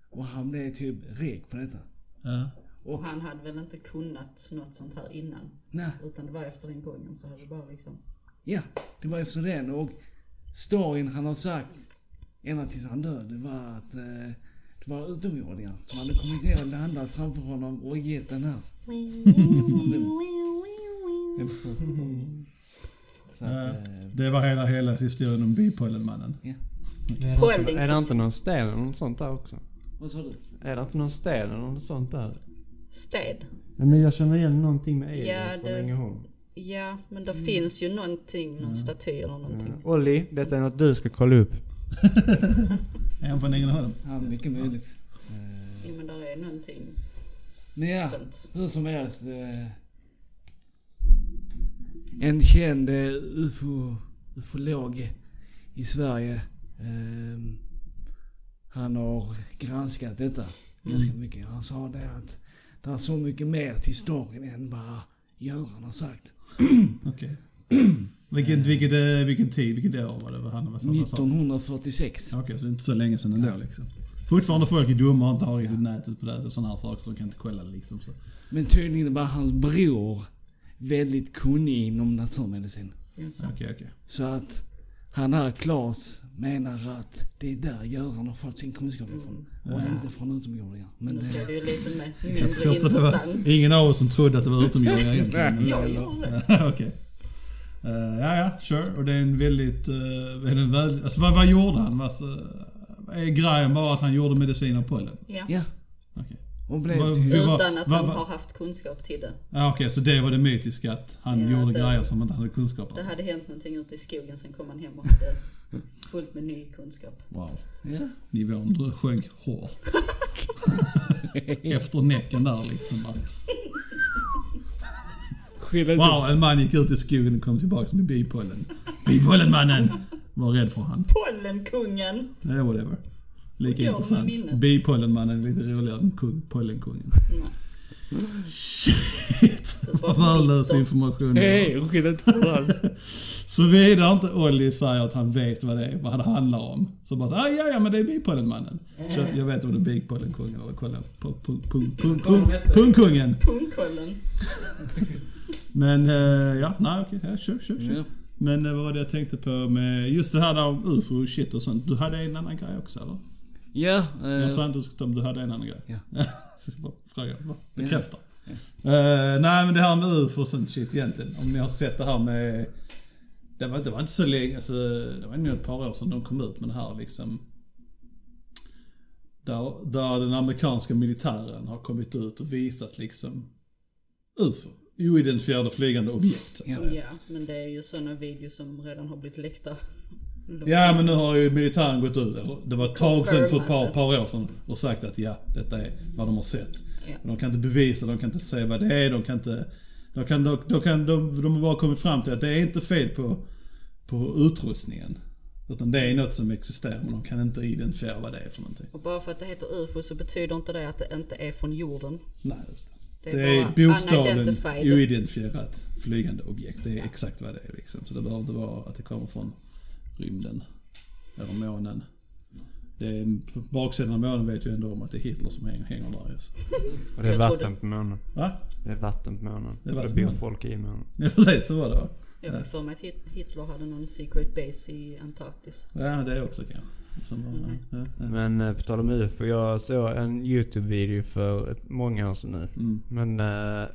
S4: Och han blev typ rik på detta.
S1: Ja.
S2: Och han hade väl inte kunnat något sånt här innan.
S4: Nej,
S2: Utan det var efter den gången så hade det bara liksom...
S4: Ja, det var efter den och storyn han har sagt ända tills han dör, det var att eh, det var utomjordingar som hade kommit ner och landat framför honom och gett den här informationen. Så att, eh,
S1: Det var hela, hela historien om bipollenmannen.
S2: Pollen.
S3: Är det inte någon sten eller något sånt där också?
S4: vad sa du?
S3: Är det inte någon sten eller något sånt där?
S2: Sted.
S3: Nej, men jag känner igen någonting med
S2: Ja,
S3: Elin från
S2: det-
S3: Ängelholm.
S2: Ja, men
S1: Mm.
S2: det finns ju någonting, någon staty eller någonting.
S3: Ja. Eh, Olli, detta är något du ska kolla upp.
S1: Är han från Ängelholm?
S4: Ja, mycket möjligt. Eh,
S2: Jo, men där är någonting
S4: Men ja,
S2: sånt.
S4: hur som helst. Eh, en känd eh, ufo, ufolog i Sverige. Eh, han har granskat detta ganska
S1: Mm.
S4: mycket. Han sa det att det är så mycket mer till storyn än vad Göran har sagt.
S1: Alltså, Okej. Vilken, vilket, eh, vilken tid, vilket år var det? Vad han var som han sa?
S4: 1946.
S1: Okej, så det är inte så länge sedan ändå liksom. Fortfarande folk är dumma och inte har riktigt nätet på det och sådana här saker så de kan inte kolla det liksom. Så.
S4: Men tydligen var hans bror väldigt kunnig inom naturmedicin.
S2: Yes.
S1: Okej, okej.
S4: Så att han här Klas menar att det är där Göran har fått sin kunskap ifrån.
S2: Mm.
S4: Och inte från utomjordingar. Men
S2: Nu
S4: det,
S2: blev det ju lite mer
S1: Jag tror
S2: mindre
S1: inte det
S2: intressant.
S1: var ingen av oss som trodde att det var utomjordingar egentligen. men-
S2: Jag gör det.
S1: Okej. Eh, ja, ja, sure. Och det är en väldigt... eh, är det en väl, alltså, vad, eh, vad gjorde han? Vad, så- är grejen bara att han gjorde medicin av pollen?
S2: Ja.
S4: ja,
S1: Okej.
S4: Och blev
S1: Vad-
S4: till...
S1: vi var-
S2: typ Utan att
S1: va-
S2: han
S1: va-
S2: har haft kunskap till det.
S1: Ja, Okej, så det var det mytiska att han
S2: Ja,
S1: gjorde
S2: det-
S1: grejer som han inte hade kunskap om.
S2: Det hade hänt någonting ute i skogen, sen kom han hem och hade fullt med ny kunskap.
S1: Wow.
S4: Ja.
S1: Nivån dr- sjönk hårt. Efter näcken där liksom. bara.
S4: Skyll inte
S1: Wow, en man gick ut i skogen och kom tillbaka med bipollen. Bipollen mannen! Var rädd för han.
S2: Pollenkungen!
S1: Det är Eh, whatever. Lika
S2: Ja,
S1: intressant.
S2: minnet.
S1: Bipollenmannen är lite roligare än kung, pollenkungen.
S2: Nej.
S1: Shit! Vad värdelös information det var.
S4: Nej, skyll inte på det alls.
S1: Såvida inte Olli säger att han vet vad det, är, vad det handlar om. Så bara så, ah, ja, ja men det är bipollenmannen. Så jag vet om det är bipollenkungen eller kolla på pung- pung- pung- pung- pungkungen.
S2: Pungkollen.
S1: Men eh, ja, nej okej, ja, kör, kör, kör.
S4: Ja.
S1: Men eh, vad var det jag tänkte på med just det här där om ufo och shit och sånt. Du hade en annan grej också eller?
S4: Ja,
S1: Jag
S4: eh,
S1: sa inte att du skulle ta om du hade en annan grej.
S4: Ja.
S1: Så bara Fråga, bara bekräfta. Eh, nej men det här med UFO och sånt shit egentligen. Om ni har sett det här med... Det var, det var inte så länge, alltså, det var nog ett par år sedan de kom ut med det här liksom. Där, där den amerikanska militären har kommit ut och visat liksom UFO. Oidentifierade flygande objekt. så att
S4: Ja.
S1: säga.
S2: Ja, men det är ju sådana videos som redan har blivit läckta.
S1: Ja men nu har ju militären gått ut, eller det var ett tag sedan för ett par,
S2: Confirmat.
S1: par år sedan och sagt att ja, detta är vad de har sett.
S2: Ja.
S1: Men De kan inte bevisa, de kan inte säga vad det är, de kan inte... De, kan, de, de, kan, de, de har bara kommit fram till att det är inte fel på, på utrustningen. Utan det är något som existerar men de kan inte identifiera vad det är för någonting.
S2: Och bara för att det heter UFO så betyder inte det att det inte är från jorden.
S1: Nej, just det.
S2: Det
S1: Det är
S2: bara
S1: bokstavligen
S2: unidentified.
S1: oidentifierat flygande objekt. Det är exakt vad det är liksom. Så det behöver inte vara att det kommer från rymden. Eller månen. Det är, på baksidan av månen vet vi ändå om att det är Hitler som hänger, hänger där just.
S3: Och det är
S2: Jag trodde-
S3: vatten på månen.
S1: Va?
S3: Det är vatten på månen.
S1: Det är
S3: Och
S1: vatten på
S3: det bor
S1: månen.
S3: folk i månen.
S1: Ja precis, så var det va?
S2: Jag fick för mig att Hit- Hitler hade någon secret base i Antarktis.
S1: Ja det är också kanske. Som
S2: Mm.
S1: var, ja, ja.
S3: Men eh, på tal om UFO, jag såg en YouTube-video för ett- många år sedan nu. Men eh,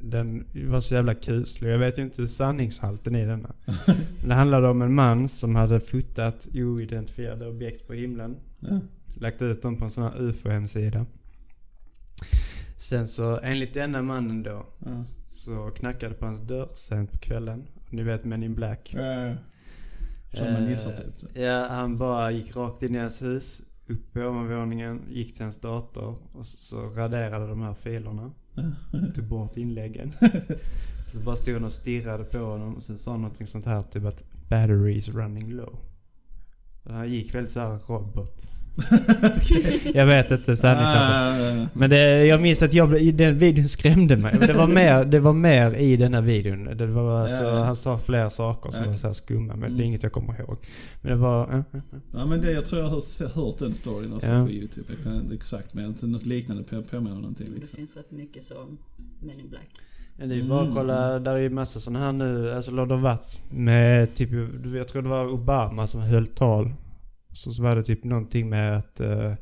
S3: den var så jävla kuslig. Jag vet ju inte sanningshalten i denna.
S1: Mm.
S3: Men det handlade om en man som hade fotat oidentifierade objekt på himlen.
S1: Ja.
S3: Lagt ut dem på en sån här UFO-hemsida. Sen så, enligt denna mannen då,
S1: Ja.
S3: så knackade på hans dörr sent på kvällen. Ni vet Men in Black.
S1: Ja, ja. Eh, Som man gissar
S3: Eh,
S1: typ. så.
S3: Ja, han bara gick rakt in i hans hus. Upp på ovanvåningen, gick till hans dator och så- så raderade de här filerna. Tog bort inläggen. Så bara stod han och stirrade på honom och sen sa han någonting sånt här typ att battery is running low. Så han gick väldigt såhär robot. Jag vet inte
S1: Ja,
S3: sanningshalten.
S1: ja, ja.
S3: Men det, jag minns att jag, blev- i den videon skrämde mig. Men Det var mer, det var mer i den här videon. Det var alltså,
S1: Ja, ja.
S3: Han sa flera saker som
S1: Ja.
S3: var så här skumma, men det
S1: Mm.
S3: är inget jag kommer ihåg. Men det var... eh, eh, eh.
S1: Ja men det, jag tror jag har hört den storyn också
S3: Ja.
S1: på youtube. Jag kan inte exakt men jag har inte något liknande på, på mig någonting
S3: Mm.
S2: Det
S1: liksom.
S2: finns rätt mycket som Men in Black.
S3: Men det är ju bara att
S1: Mm.
S3: kolla, där är ju massa sådana här nu, alltså Lord of Vats med typ, jag tror det var Obama som höll tal. Så, så var det typ någonting med att eh,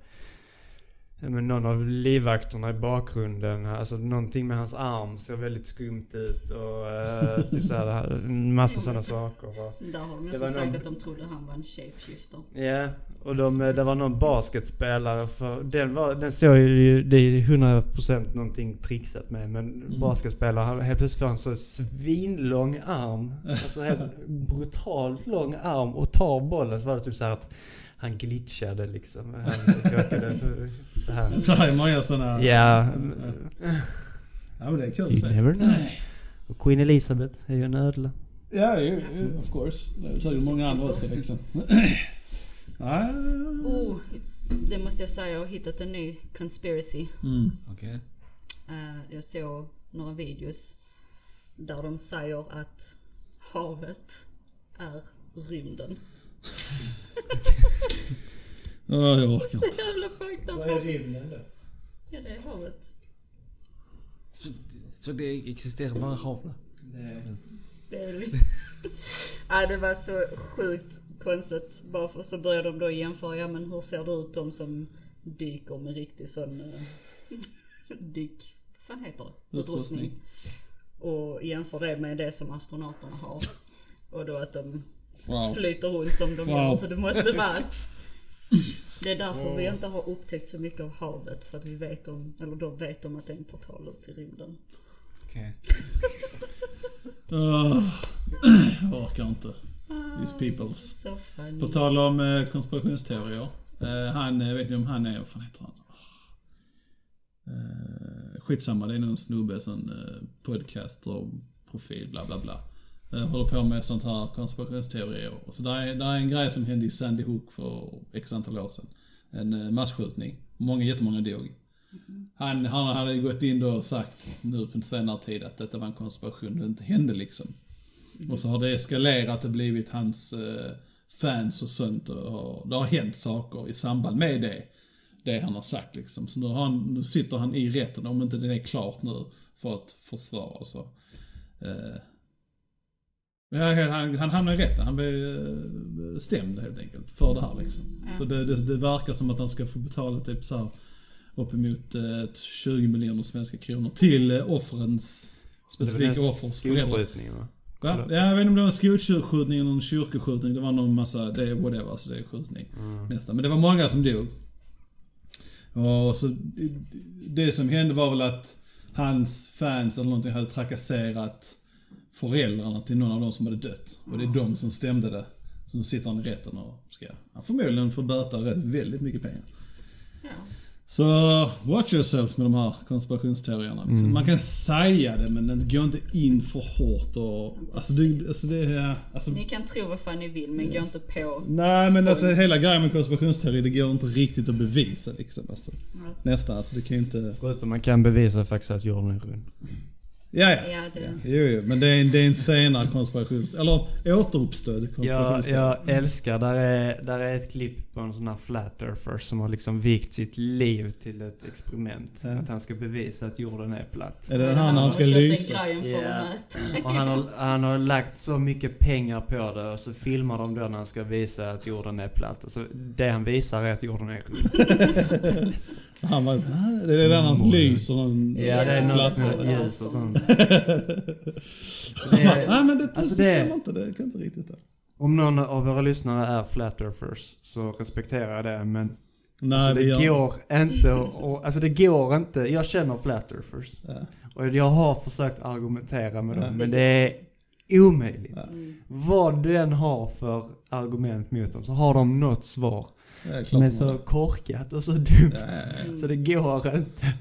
S3: ja, men någon av livvakterna i bakgrunden, alltså någonting med hans arm såg väldigt skumt ut och eh, typ så här, en massa sådana saker. Och,
S2: Där har de
S3: Det
S2: också
S3: var
S2: sagt
S3: någon-
S2: att de trodde han var en shapeshifter.
S3: Ja, och de, det var någon basketspelare för den, var, den såg ju, det är ju 100% någonting trixat med men basketspelare, han, helt plötsligt får han så svinlång arm. Alltså helt brutalt lång arm och tar bollen så var det typ så här att han glitchade liksom. Han råkade så här.
S1: Det är många sådana...
S3: Ja, Mm.
S1: Ja men det är kul att
S3: you
S1: se.
S3: never know. Och Queen Elizabeth är ju en ödla.
S1: Ja, ju, ju, of course. Det är säkert många andra också liksom. Ja,
S2: Oh, det måste jag säga, jag har hittat en ny conspiracy.
S1: Mm.
S4: Okej.
S2: Eh, jag såg några videos där de säger att havet är rymden.
S1: Ja, jag orkar
S2: Så jävla fucked up.
S3: rymden då?
S2: Ja, det är havet.
S4: Så, så det existerar bara hav då?
S2: Det är li- ja, det var så sjukt konstigt. Bara för, så började de då jämföra, ja men hur ser det ut de som dyker med riktig sån eh, dyk... Vad fan heter det?
S1: Utrustning.
S2: Utrustning. Och jämför det med det som astronauterna har. Och då att de
S1: Wow.
S2: flyter runt som de
S1: Wow.
S2: gör. Så det måste vara att Det är därför vi inte har upptäckt så mycket av havet. För att vi vet om, eller de vet om att det är en portal ut i rymden.
S4: Okej.
S1: Ah, jag orkar inte. These peoples.
S2: Ah, Så funny.
S1: På tal om eh, konspirationsteorier. Eh, han, eh, vet ni om han är, vad fan heter han? Eh, skitsamma, det är någon snubbe, sån eh, podcaster och profil, bla bla bla. Eh, håller på med sånt här konspirationsteorier. Så där är, där är en grej som hände i Sandy Hook för x antal år sedan. En eh, masskjutning. Många, jättemånga dog. Han, han hade gått in då och sagt nu på senare tid att detta var en konspiration, det inte hände liksom. Och så har det eskalerat och blivit hans eh, fans och sånt och, har- det har hänt saker i samband med det. Det han har sagt liksom. Så nu, har han, nu sitter han i rätten om inte det är klart nu för att försvara och så. Eh, men han, han, han hamnade i rätten, han blev eh, stämd helt enkelt för det här liksom. Så det, det, det verkar som att han ska få betala typ så här uppemot eh, 20 miljoner svenska kronor till eh, offrens, specifika offers föräldrar.
S3: skolskjutningen va?
S1: Va? Ja, jag vet inte om det var en skolskjutning eller en kyrkoskjutning. Det var någon massa, det är whatever, alltså det är skjutning. Nästan. Men det var många som dog. Och så, det som hände var väl att hans fans eller någonting hade trakasserat föräldrarna till någon av dem som hade dött. Och det är de som stämde det. Så nu sitter han i rätten och ska han förmodligen få böta rätt väldigt mycket pengar.
S2: Ja.
S1: Så watch yourself med de här konspirationsteorierna. Liksom.
S2: Mm.
S1: Man kan säga det men den går inte in för hårt och... Alltså det, alltså det är... Alltså,
S2: Ni kan tro vad fan ni vill men gå inte på.
S1: nej men alltså hela grejen med konspirationsteori det går inte riktigt att bevisa liksom. Alltså.
S2: Nej.
S1: Nästan alltså det kan ju inte...
S3: Förutom man kan bevisa faktiskt att jorden är rund.
S1: Ja ja.
S2: Ja, det,
S1: Jo, jo, men det är, en- det är en senare konspirationsteori. Eller återuppstödd
S3: Jag,
S1: konspirationsteori.
S3: jag älskar, där är, där är ett klipp på en sån här flat earther som har liksom vikt sitt liv till ett experiment.
S1: Ja.
S3: Att han ska bevisa att jorden är platt.
S1: Är det den här när han ska lysa?
S2: alltså, en för
S3: Ja.
S2: att mäta.
S3: Och han har, han har lagt så mycket pengar på det och så filmar de då när han ska visa att jorden är platt. Alltså, det han visar är att jorden är rund.
S1: Han bara, "Hä?" det är den han lyser någon...
S3: Mm. Ja, det är något
S1: platta.
S3: med ljus och sånt.
S2: Mm.
S1: Han bara,
S3: Det,
S1: Nej men det,
S3: Alltså,
S1: det
S3: det-
S1: stämmer inte, det kan inte riktigt stämma.
S3: om någon av våra lyssnare är flat earthers så respekterar jag det men
S1: Nej,
S3: alltså,
S1: vi gör-
S3: det går inte och, Alltså det går inte. Jag känner flat earthers.
S1: Ja.
S3: Och jag har försökt argumentera med
S1: Ja.
S3: dem, men det är omöjligt.
S1: Ja.
S2: mm.
S3: Vad du än har för argument mot dem så har de något svar
S1: Det är klart
S3: som är
S1: man-
S3: så korkat och så dumt.
S1: Nej.
S3: Så det går inte.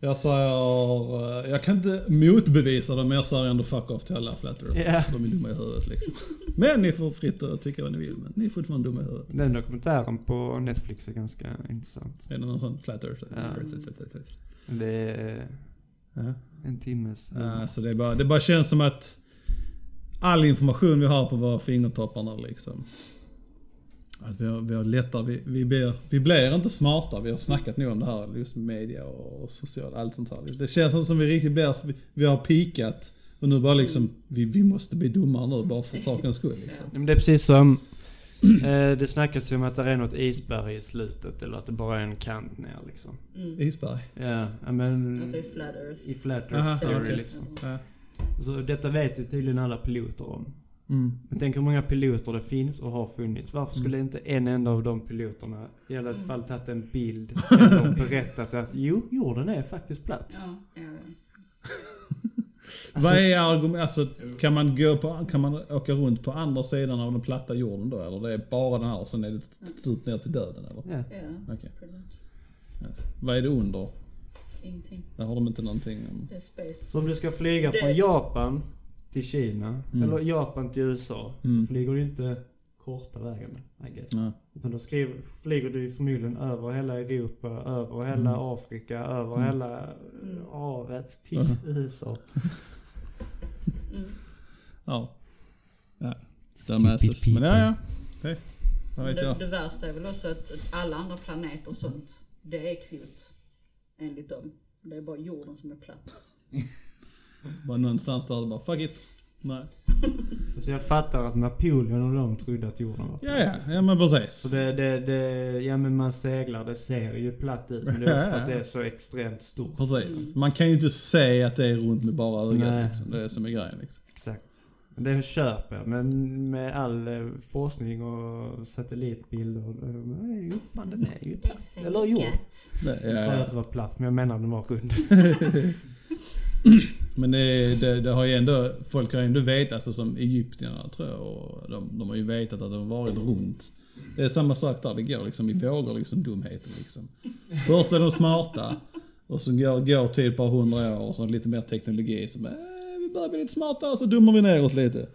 S1: Jag säger, eh, jag kan inte motbevisa dem men jag säger ändå fuck off till alla flat earthers.
S3: Ja.
S1: De är dumma i huvudet liksom. Men ni får fritt att tycka vad ni vill men ni är fortfarande dumma i huvudet.
S3: Den dokumentären på Netflix är ganska intressant.
S1: Är det någon sån flat earth?
S3: Det är
S1: Ja.
S3: en timmes...
S1: Ja, Eh, så det, är bara, det bara känns som att all information vi har på våra fingertopparna liksom. Att vi, har, vi har lättare, vi, vi, blir, vi blir inte smarta. Vi har snackat nog om det här, just media och social, allt sånt här. Det känns inte som vi riktigt blir, vi, vi har pikat och nu bara liksom, vi, vi måste bli dummare nu bara för sakens skull liksom.
S3: Ja, Men det är precis som... Eh, det snackas ju om att det är något isberg i slutet eller att det bara är en kant ner liksom.
S2: Mm.
S1: Isberg.
S3: Ja, ja, men...
S2: Alltså i flat earth.
S3: I flat
S1: Aha,
S3: earth theory
S1: okej.
S3: liksom.
S1: Ja.
S3: Så Alltså, detta vet ju tydligen alla piloter om.
S1: Mm.
S3: Men tänk hur många piloter det finns och har funnits. Varför skulle inte en enda av de piloterna i alla
S2: Mm.
S3: fall tagit en bild eller berättat att jo, jorden är faktiskt platt.
S2: Ja, ja, ja.
S1: Vad är argument, alltså kan man, gå på, kan man åka runt på andra sidan av den platta jorden då eller? Det är bara den här och sen är det stup ner till döden eller?
S3: Ja.
S2: ja.
S1: Okej.
S2: pretty much.
S1: Yes. Vad är det under?
S2: Ingenting.
S1: Där har de inte någonting om...
S2: Det är space.
S3: Så om du ska flyga
S2: Det-
S3: från Japan till Kina,
S1: Mm.
S3: eller Japan till USA,
S1: Mm.
S3: så flyger du inte korta vägen, I guess.
S1: Nej.
S3: Utan då skriver, flyger du ju förmodligen över hela Europa, över hela
S1: Mm.
S3: Afrika, över
S1: Mm.
S3: hela eh,
S2: Mm.
S3: havet till
S1: Mhm.
S3: USA.
S2: Mm.
S1: Ja. ja. Dumbasses. Men ja, ja. Okej. Vad vet
S2: Det,
S1: jag.
S2: det värsta är väl också att alla andra planeter och sånt, det är klot. Enligt dem. Det är bara jorden som är platt.
S1: Bara någonstans där det bara fuck it. Nej.
S3: Så jag fattar att Napoleon och de trodde att jorden var
S1: Ja, ja. Ja men precis.
S3: Så det, det, det, ja men man seglar, det ser ju platt ut men det är också för att det är så extremt stort.
S1: Precis. Man kan ju inte säga att det är runt med bara ögat
S3: Nej.
S1: liksom. Det är som är grejen liksom.
S3: Exakt. Det köper jag, men med all eh, forskning och satellitbilder. eh, Nej, jo, fan den är ju
S2: Det är
S3: platt. Eller jo.
S2: fejkat.
S1: Det
S3: Jag sa
S1: är-
S3: att det var platt, men jag menar den var rund.
S1: Men det, det, det har ju ändå, folk har ju ändå vetat, alltså som egyptierna tror jag, och de, de har ju vetat att det har varit runt. Det är samma sak där, det går liksom i vågor liksom dumheten liksom. Först är de smarta och så går, går tid ett par hundra år och så lite mer teknologi som äh, vi börjar bli lite smarta och så dummar vi ner oss lite.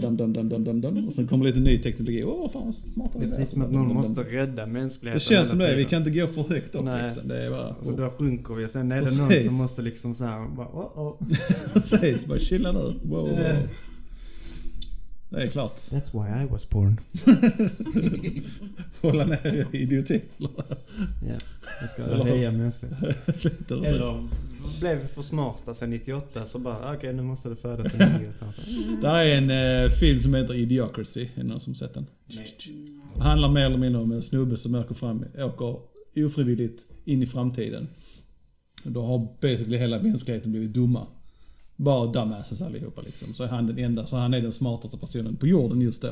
S1: Dum, dum, dum, dum, dum, dum. Och sen kommer lite ny teknologi, åh vad fan vad smarta
S3: Det
S1: vi
S3: är
S1: är.
S3: precis som att
S1: Dum, dum,
S3: någon
S1: dum,
S3: måste
S1: dum.
S3: rädda mänskligheten
S1: Det känns som
S3: hela
S1: det, vi
S3: tiden.
S1: kan inte gå för högt upp
S3: Nej. Alltså,
S1: liksom. Det är bara...
S3: Så då sjunker vi och sen är det någon
S1: Precis.
S3: som måste liksom såhär bara oh, oh.
S1: Precis, bara chilla nu. Wow, wow, wow. Det är klart.
S3: That's why I was born.
S1: Hålla ner idioti.
S3: Ja, jag ska
S1: Eller-
S3: höja mänskligheten.
S1: Sluta och så.
S3: Eller blev vi för smarta sen 98 så bara "Ah, okej nu måste det födas en idiot här. Så,
S1: Det här är en eh, film som heter Idiocracy. Är det någon som sett den? Det handlar mer eller mindre om en snubbe som åker, fram, åker ofrivilligt in i framtiden. Då har basically hela mänskligheten blivit dumma. Bara dumbasses allihopa liksom. Så är han den enda, så han är den smartaste personen på jorden just då.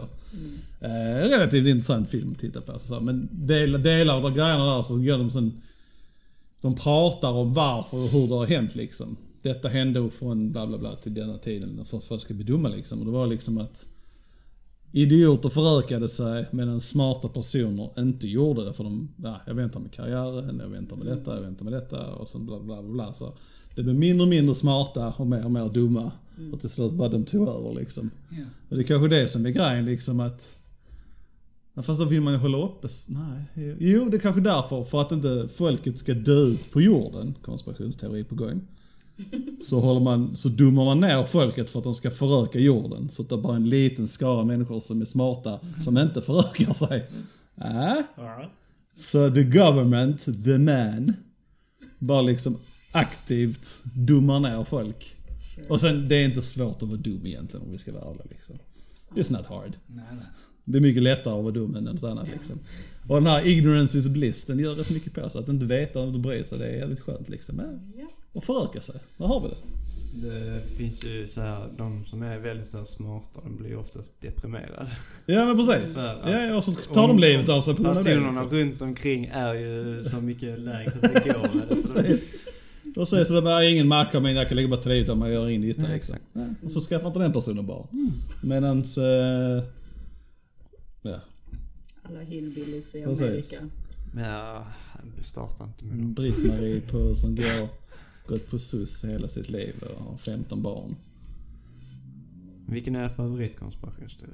S1: Eh, relativt intressant film att titta på. Alltså, så här. men del, delar av de grejerna där så gör de sen... De pratar om varför och hur det har hänt liksom. Detta hände från bla bla bla till denna tiden för att folk ska bli dumma liksom. Och det var liksom att idioter förökade sig medan smarta personer inte gjorde det. För de, ja, jag väntar med karriären, jag väntar med detta, jag väntar med detta och sen bla bla bla. bla. Så det blev mindre och mindre smarta och mer och mer dumma. Och till slut bara de tog över liksom.
S4: Ja.
S1: Och det är kanske det som är grejen liksom att... Ja, Fast då vill man ju hålla uppe... s- Nej. Jo, det är kanske därför. För att inte folket ska dö ut på jorden. Konspirationsteori på gång. Så, håller man, så dummar man ner folket för att de ska föröka jorden. Så att det är bara en liten skara människor som är smarta, som inte förökar sig. Äh? Så the government, the man, bara liksom aktivt dummar ner folk. Och sen, det är inte svårt att vara dum egentligen om vi ska vara ärliga liksom. It's not hard.
S4: Nej, nej.
S1: Det är mycket lättare att vara dum än något annat liksom. Och den här ignorance is bliss, den gör rätt mycket på sig. Att inte veta och inte bry sig, det är jävligt skönt liksom. Äh,
S2: Ja.
S1: Och föröka sig, där har vi det.
S3: det finns ju så här, de som är väldigt så här smarta de blir oftast deprimerade.
S1: Ja men precis.
S3: För att-
S1: Ja, och så tar de livet av sig på grund av det.
S3: Personerna
S1: Liksom.
S3: runt omkring är ju så mycket lägre det går. med det, så de-
S1: Och så är det sådär, ingen märker mig, jag kan lägga bara till utan man gör ingen nytta.
S3: Ja,
S1: Liksom. Och så skaffar inte den personen barn.
S3: Mm.
S1: Medans... Eh, ja,
S2: Alla hillbillies i
S1: Precis.
S2: Amerika.
S3: Ja, starta inte med dem.
S1: Britt-Marie på, som går, gått på SUS hela sitt liv och har 15 barn.
S3: Vilken är favoritkonspirationsteori?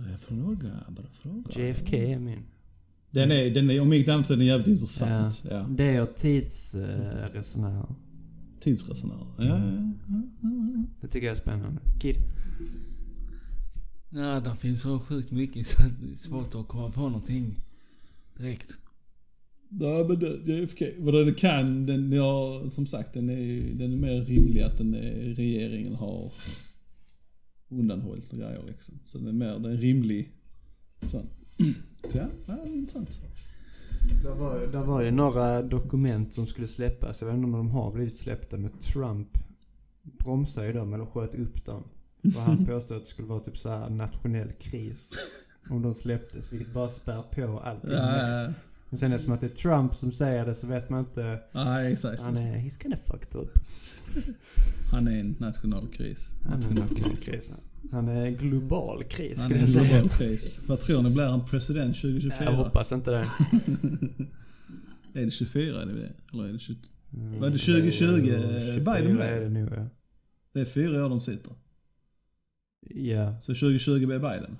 S1: Bra fråga, bra fråga.
S3: JFK är min.
S1: Den är, den är, om inte annat så är den jävligt intressant. Ja.
S3: Det och tidsresenärer.
S1: Tidsresenärer. Ja, ja, ja.
S3: Det tycker jag är spännande. Kid.
S4: Ja, där finns så sjukt mycket så att det är svårt att komma på någonting direkt.
S1: Nej men det, JFK, vad den kan, den, ja, som sagt den är, ju- den är mer rimlig att den är, regeringen har undanhållit grejer liksom. Så den är mer, den är rimlig. Sån. Så ja, ja, det är intressant.
S3: Där var, där var ju några dokument som skulle släppas. Jag vet inte om de har blivit släppta men Trump bromsade ju dem eller sköt upp dem. För han påstod att det skulle vara typ så här nationell kris. Om de släpptes vilket bara spär på allting.
S1: Ja,
S3: Men sen är det som att det är Trump som säger det så vet man inte.
S1: ja, exakt.
S3: Han är, he's kinda fucked up.
S1: Han är en nationalkris.
S3: Han är en nationell kris. Han är en global kris
S1: Han är
S3: skulle
S1: en
S3: jag säga.
S1: global kris. Vad tror ni, blir han president
S3: Jag
S1: 2024?
S3: hoppas inte det.
S1: Är det 24? Är det det? Eller är det 20?
S3: Mm,
S1: Var det 2020 Biden
S3: 24
S1: blev?
S3: är det nog ja.
S1: Det är fyra år de sitter.
S3: Ja.
S1: Så 2020 blir Biden.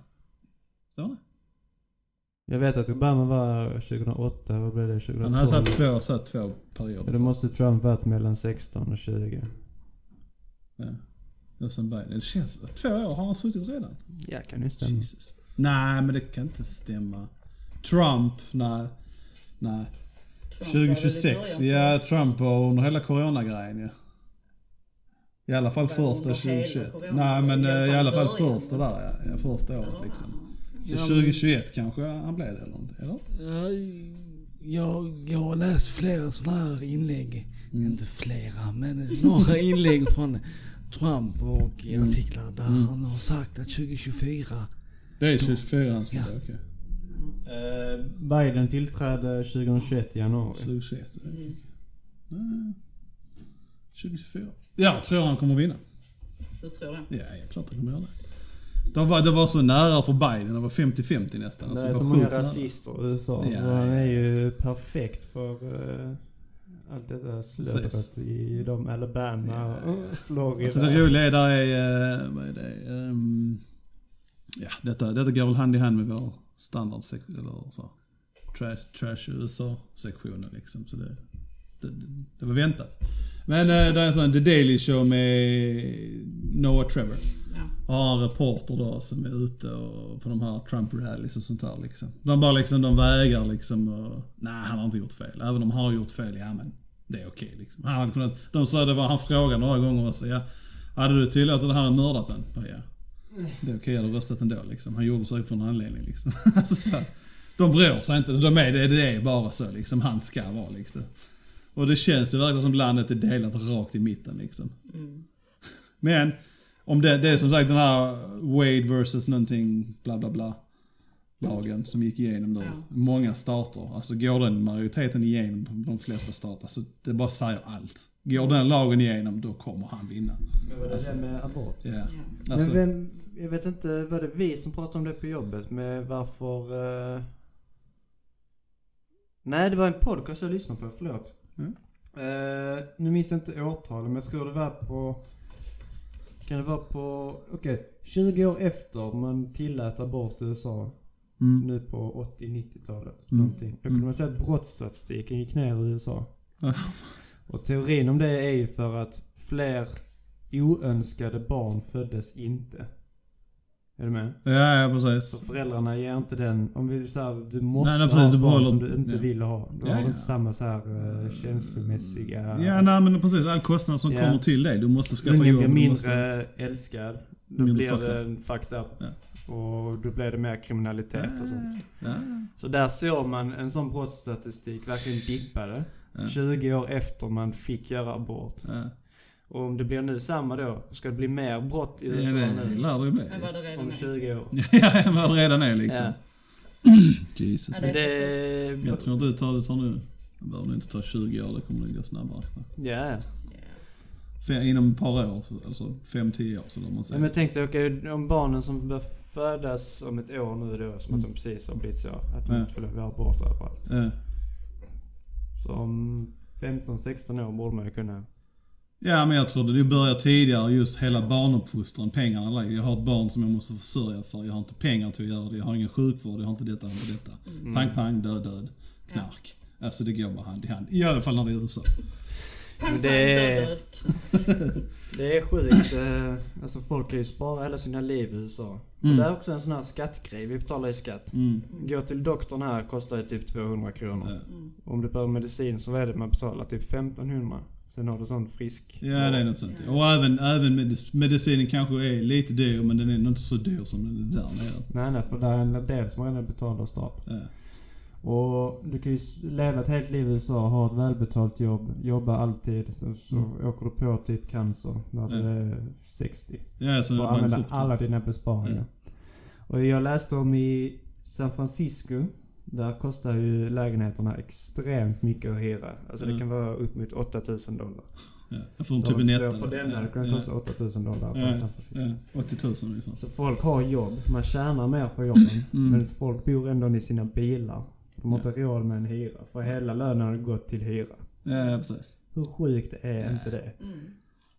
S1: Stämmer det?
S3: Jag vet att Obama var 2008, vad blev det? 2012?
S1: Han har satt två, satt två perioder.
S3: Ja, Då måste Trump varit mellan 16 och 20.
S1: Ja. Och sen Biden. Det känns... Två år har han suttit redan.
S3: Ja, kan ju stämma.
S1: Jesus. Nej, men det kan inte stämma. Trump, nej. Nej.
S2: Trump var väl i
S1: 2026.
S2: början
S1: Ja, Trump var under hela coronagrejen ju. I alla fall
S2: Var under
S1: första
S2: hela
S1: 2021.
S2: corona?
S1: Nej, men eh, i alla fall
S2: början.
S1: första där ja. ja. Första året
S2: Ja.
S1: liksom. Så
S4: Ja, men-
S1: 2021 kanske han blev det eller något, eller?
S4: Ja, Jag, jag har läst flera sådana här inlägg. Inte flera, men några inlägg från Trump och i artiklar där han har sagt att 2024
S1: Det är 24 han ska
S4: Ja.
S1: ja. okej.
S3: Eh, Biden tillträdde 2021 i januari.
S1: 2021. Mm. 2024. Jag tror han kommer vinna.
S2: Du tror det?
S1: Ja, ja klart han kommer göra det. Det var, det var så nära för Biden, det var 50-50 nästan.
S3: Det
S1: Alltså,
S3: är
S1: var
S3: så många
S1: sjukt nära.
S3: rasister i USA.
S1: Ja,
S3: och han
S1: ja.
S3: är ju perfekt för eh, allt detta slödret i de Alabama
S1: Ja,
S3: och Florida.
S1: Alltså det roliga är, där är, eh, vad är det? Ehm, ja, detta, detta går väl hand i hand med vår standard eller så. Trash, trash USA-sektionen liksom. Så det, det, det var väntat. Men eh, det är en sån The Daily Show med Noah Trevor.
S2: Ja.
S1: Och har en reporter då som är ute och, på de här Trump rallies och sånt där liksom. De bara liksom, de vägrar liksom och, Nej, han har inte gjort fel. Även om han har gjort fel, ja men det är okej liksom. Han hade kunnat, de sa det var, han frågade några gånger också, ja. Hade du tillåtit att han hade mördat den? Ja. ja. Det är okej, jag hade röstat ändå liksom. Han gjorde sig för en anledning liksom. Alltså, så här. de bryr sig inte, de är det, det är bara så liksom. Han ska vara liksom. Och det känns ju verkligen som landet är delat rakt i mitten liksom. Men om det, det är som sagt den här Wade versus någonting bla bla bla lagen som gick igenom då.
S2: Ja.
S1: Många stater. Alltså går den majoriteten igenom på de flesta stater. Alltså det bara säger allt. Går den lagen igenom då kommer han vinna.
S3: Men vad är det med abort?
S1: Yeah.
S2: Ja.
S1: Alltså,
S3: Men vem, jag vet inte, var det vi som pratade om det på jobbet med varför... Eh... Nej, det var en podcast jag lyssnade på, förlåt.
S1: Mm.
S3: Eh, nu minns jag inte årtalet, men jag tror det var på... Kan det vara på... Okej, 20 år efter man tillät abort i USA,
S1: mm.
S3: nu på 80-90-talet,
S1: Mm.
S3: någonting. Då kunde
S1: Mm.
S3: man säga att brottsstatistiken gick ner i USA.
S1: Ja.
S3: Och teorin om det är ju för att fler oönskade barn föddes inte. Är du med?
S1: ja, ja
S3: Så
S1: precis.
S3: föräldrarna ger inte den, om vi säger du måste
S1: Nej, nej, precis,
S3: ha ett
S1: du
S3: barn
S1: behåller-
S3: som du inte
S1: ja.
S3: vill ha. Då
S1: Ja,
S3: har du
S1: ja.
S3: inte samma så här eh, känslomässiga...
S1: Ja, nej men precis. All kostnad som
S3: Ja.
S1: kommer till dig. Du måste skaffa
S3: Ungen blir
S1: jobb, du
S3: mindre
S1: Måste,
S3: älskad. Då
S1: Mindre
S3: blir
S1: fucked
S3: det en fucked up.
S1: Ja.
S3: Och då blir det mer kriminalitet och sånt.
S1: ja.
S3: Så där såg man en sån brottsstatistik verkligen dippade.
S1: Ja.
S3: 20 år efter man fick göra abort.
S1: Ja.
S3: Och om det blir nu samma då, ska det bli mer brott i
S1: Ja,
S3: USA
S1: det
S3: nu?
S1: lär det ju bli.
S2: Men var det redan
S3: Om
S2: nu?
S3: 20 år?
S1: Ja, vad det redan är liksom.
S3: Ja.
S1: Jesus.
S2: Ja, det
S3: Men
S2: är
S3: det...
S2: så
S1: Jag tror du tar, du tar nu. Det behöver nog inte ta 20 år, det kommer nog gå snabbare.
S3: Ja.
S2: Ja.
S1: Fe- Inom ett par år, så- alltså 5-10 år så lär man
S3: Men
S1: säga.
S3: jag tänkte, okej, om barnen som bör födas om ett år nu då, som att de precis har blivit så, att de
S1: Mm. Ja.
S3: inte får lov att göra abort överallt.
S1: Eh,
S3: Så om 15-16 år borde man ju kunna...
S1: Ja men jag trodde det börjar tidigare just hela barnuppfostran, pengarna lägger. Jag har ett barn som jag måste försörja för, jag har inte pengar till att göra det, jag har ingen sjukvård, jag har inte detta, jag har inte detta.
S3: Mm.
S1: Pang pang, död död, knark. Alltså det går bara hand i hand. I alla fall när det är USA.
S2: Pang, pang,
S3: Det-
S2: död, död.
S3: Det är sjukt. eh, alltså folk kan ju spara hela sina liv i USA.
S1: Mm.
S3: Det är också en sån här skattgrej, vi betalar ju skatt.
S1: Mm.
S3: Gå till doktorn här kostar ju typ 200 kronor.
S1: Eh,
S2: Mm,
S3: Om du behöver medicin så vad är det man betalar? Typ 1500. Sen har du sån frisk...
S1: Ja det är något sånt. Och även, även medic- medicinen kanske är lite dyr men den är nog inte så dyr som den är där nere.
S3: Nej, nej, för det är en del som redan betalar stat.
S1: Eh,
S3: Och du kan ju s- leva ett helt liv i USA, ha ett välbetalt jobb, jobba alltid. Sen så åker du på typ cancer när du
S1: Mm. Ja.
S3: är 60.
S1: Ja, så
S3: Får
S1: det var en
S3: använda
S1: frukt.
S3: alla dina
S1: Mm.
S3: besparingar. Och jag läste om i San Francisco. Där kostar ju lägenheterna extremt mycket att hyra. Alltså det
S1: Mm.
S3: kan vara upp mot 8000 dollar.
S1: Ja, jag får en
S3: Så
S1: typ en etta.
S3: För
S1: då.
S3: denna det kan
S1: Ja,
S3: kosta 8000 dollar för
S1: Ja,
S3: San Francisco.
S1: ja, 80 000 ungefär.
S3: Så folk har jobb, man tjänar mer på jobben.
S1: Mm.
S3: Men folk bor ändå i sina bilar. De har inte råd med en hyra. För hela lönen har gått till hyra.
S1: Ja, ja, precis.
S3: Hur sjukt är inte det?
S2: Mm.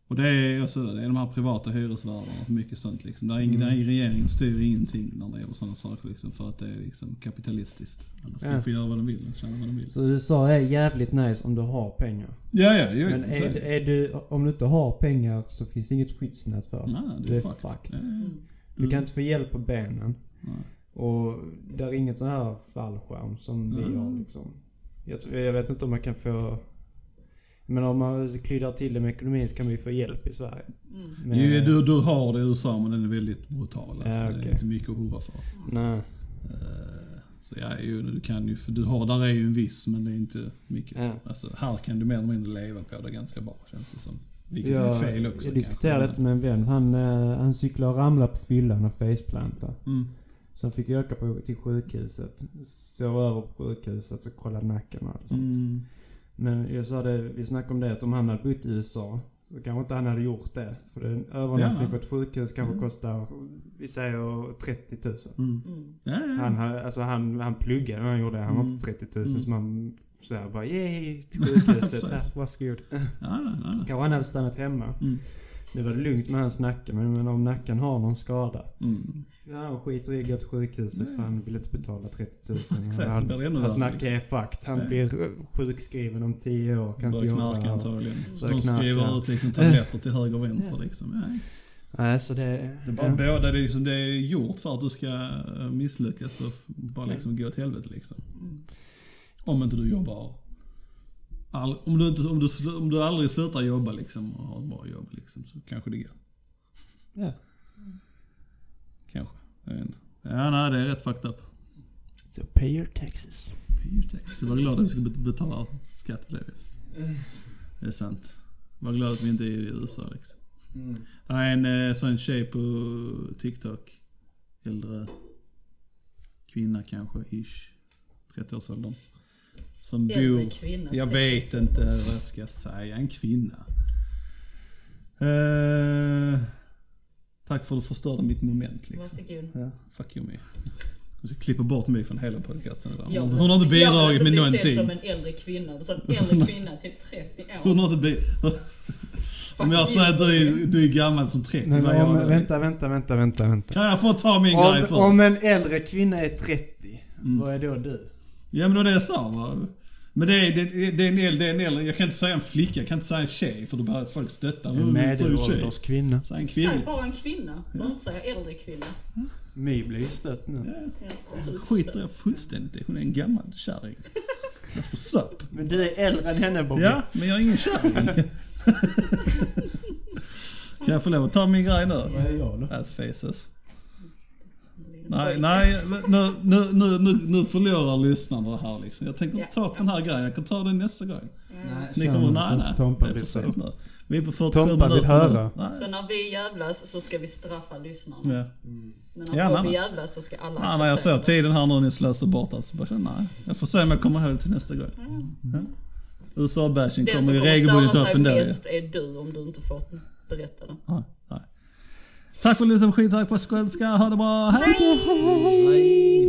S1: Och det är, också, det är de här privata hyresvärdarna och mycket sånt. Liksom. Där, är
S3: Mm.
S1: ingen, där är regeringen styr ingenting när det gäller sådana saker. Liksom, för att det är liksom kapitalistiskt. Alla ska
S3: Ja.
S1: få göra vad de vill och tjäna vad de vill.
S3: Så USA är jävligt nice om du har pengar.
S1: Ja, ja, jo,
S3: Men
S1: så
S3: är,
S1: det.
S3: är du, om du inte har pengar så finns det inget skyddsnät för dig.
S1: Nej,
S3: det
S1: det
S3: är
S1: är fucked.
S3: fucked.
S1: Ja, ja,
S2: Mm.
S3: Du kan inte få hjälp på benen.
S1: Nej.
S3: Och det är inget sån här fallskärm som vi
S1: Mm.
S3: har liksom. Jag, tror- jag vet inte om man kan få... Men om man klydar till det med ekonomin så kan vi få hjälp i Sverige.
S2: Mm.
S3: Men-
S1: Jo, du, du har det i USA men den är väldigt brutal. Alltså.
S3: Ja,
S1: Det
S3: okej.
S1: är inte mycket att hurra för.
S3: Nej.
S1: Eh, Så ja, jo, du kan ju, för du har, där är ju en viss men det är inte mycket.
S3: Ja.
S1: Alltså, här kan du mer eller mindre leva på det ganska bra känns det som. Vilket är fel också.
S3: jag
S1: kanske.
S3: diskuterade detta med en vän. Han, eh, han cyklade och ramlade på fyllan och faceplantade.
S1: Mm.
S3: Sen fick jag åka på, till sjukhuset. Sov över på sjukhuset och kollade nacken och allt sånt.
S1: Mm.
S3: Men jag sa det, vi snackade om det, att om han hade bott i USA så kanske inte han hade gjort det. För en
S1: Ja.
S3: övernattning på ett sjukhus kanske
S1: Mm.
S3: kostar, vi säger 30 000.
S1: Mm.
S2: Mm.
S1: Ja, ja, ja.
S3: Han, hade- alltså han, han pluggade när han gjorde det. Han var
S1: Mm.
S3: inte 30 000
S1: Mm.
S3: så man sådär bara yay till sjukhuset.
S1: Precis.
S3: här, varsågod.
S1: Ja, nej, nej, nej.
S3: Kanske han hade stannat hemma.
S1: Mm.
S3: Nu var det lugnt med hans nacke men men om nacken har någon skada.
S1: Mm.
S3: Ja, han skiter i att gå till sjukhuset
S1: Nej.
S3: för han vill inte betala 30 000.
S1: Exakt,
S3: han,
S1: det blir ännu
S3: hans
S1: värre, liksom.
S3: nacke är fucked. Han
S1: Nej.
S3: blir eh, sjukskriven om 10 år. Kan inte
S1: Börjar knarka
S3: jobba.
S1: antagligen. Så
S3: Börjar
S1: de skriver
S3: knarka.
S1: ut liksom tabletter till höger och vänster
S3: Ja.
S1: liksom. Ja,
S3: Nej, så det...
S1: Det är bara båda, det är, liksom, det är gjort för att du ska eh, misslyckas och bara liksom gå åt helvete liksom.
S2: Mm.
S1: Om inte du jobbar... All, om, du inte, om, du, slu- om du aldrig slutar jobba liksom och har ett bra jobb liksom så kanske det går.
S3: Ja.
S1: Kanske. Jag vet inte. Ja, nej det är rätt fucked up.
S3: So pay your taxes.
S1: Så var glad att vi ska bet- betala skatt på det viset. Det är sant. Var glad att vi inte är i USA liksom.
S4: Mm.
S1: Det är en eh, sån tjej på TikTok. Äldre kvinna kanske, ish. 30-årsåldern. Som
S2: Äldre
S1: bor...
S2: kvinna.
S1: Jag
S2: tre
S1: vet
S2: år.
S1: inte vad jag ska säga. En kvinna. Eh, tack för att du förstörde mitt moment liksom.
S2: Varsågod.
S1: Ja, fuck you me. Jag ska klippa bort mig från hela podcasten. Där.
S2: Jag
S1: Hon,
S2: vill-
S1: hon har inte
S2: jag vill
S1: bidragit
S2: inte
S1: med
S2: bli
S1: någonting.
S2: sedd som en äldre kvinna. Du sa en äldre kvinna, typ 30 år.
S1: Hon har inte blivit... Om jag säger att du är, du är gammal som 30,
S3: Men
S1: vad gör
S3: om,
S1: du?
S3: vänta, vänta, vänta, vänta, vänta.
S1: Kan jag få ta min grej
S3: Om,
S1: först?
S3: om en äldre kvinna är 30,
S1: Mm.
S3: vad är då du?
S1: Ja men det var det jag sa va? Men det är, det, är- det, är en äldre, det är en äldre, jag kan inte säga en flicka, jag kan inte säga en tjej för då börjar folk stötta.
S3: En
S1: Mm, så är det tjej.
S3: medelålders kvinna.
S1: Säg en kvinna.
S2: Säg bara en kvinna. Behöver inte säga äldre kvinna.
S3: My blir ju stött nu.
S1: Ja,
S2: Ja,
S1: skiter jag fullständigt i. Hon är en gammal kärring. That's what's up.
S3: Men du är äldre än henne Bobby.
S1: Ja, men jag är ingen kärring. kan jag få lov att ta min grej nu?
S3: Vad är jag då?
S1: Ass faces.
S2: Mm.
S1: Nej, nej nu, nu, nu, nu, nu förlorar lyssnarna det här liksom. Jag tänker inte ta upp den här grejen, jag kan ta den nästa gång.
S2: Ja.
S1: Ni
S3: Känner
S1: kommer, nej
S3: som
S1: nej.
S3: Tompa
S1: det är för
S3: vill
S1: sent
S3: säga.
S1: nu. Vi är på 47
S3: Tompa vill
S1: minuter
S3: höra.
S1: nu.
S2: Så när vi jävlas så ska vi straffa lyssnarna.
S1: Nej. Ja.
S2: Men när
S1: Ja,
S2: Bobby
S1: nej, nej.
S2: jävlas så ska alla
S1: Nej, när jag såg tiden här nu när ni slösar bort alltså. Bara, känner, nej. Jag får se om jag kommer ihåg till nästa gång.
S2: Ja.
S1: USA-bashing
S2: Mm. Den
S1: kommer
S2: som
S1: ju
S2: kommer
S1: regelbundet
S2: störa
S1: upp
S2: sig
S1: ändå. ju.
S2: mest är du om du inte fått berätta det.
S1: Nej, nej. Tack för att du lyssnade på skit, tack på skånska, ha det bra, hej!
S3: Nej.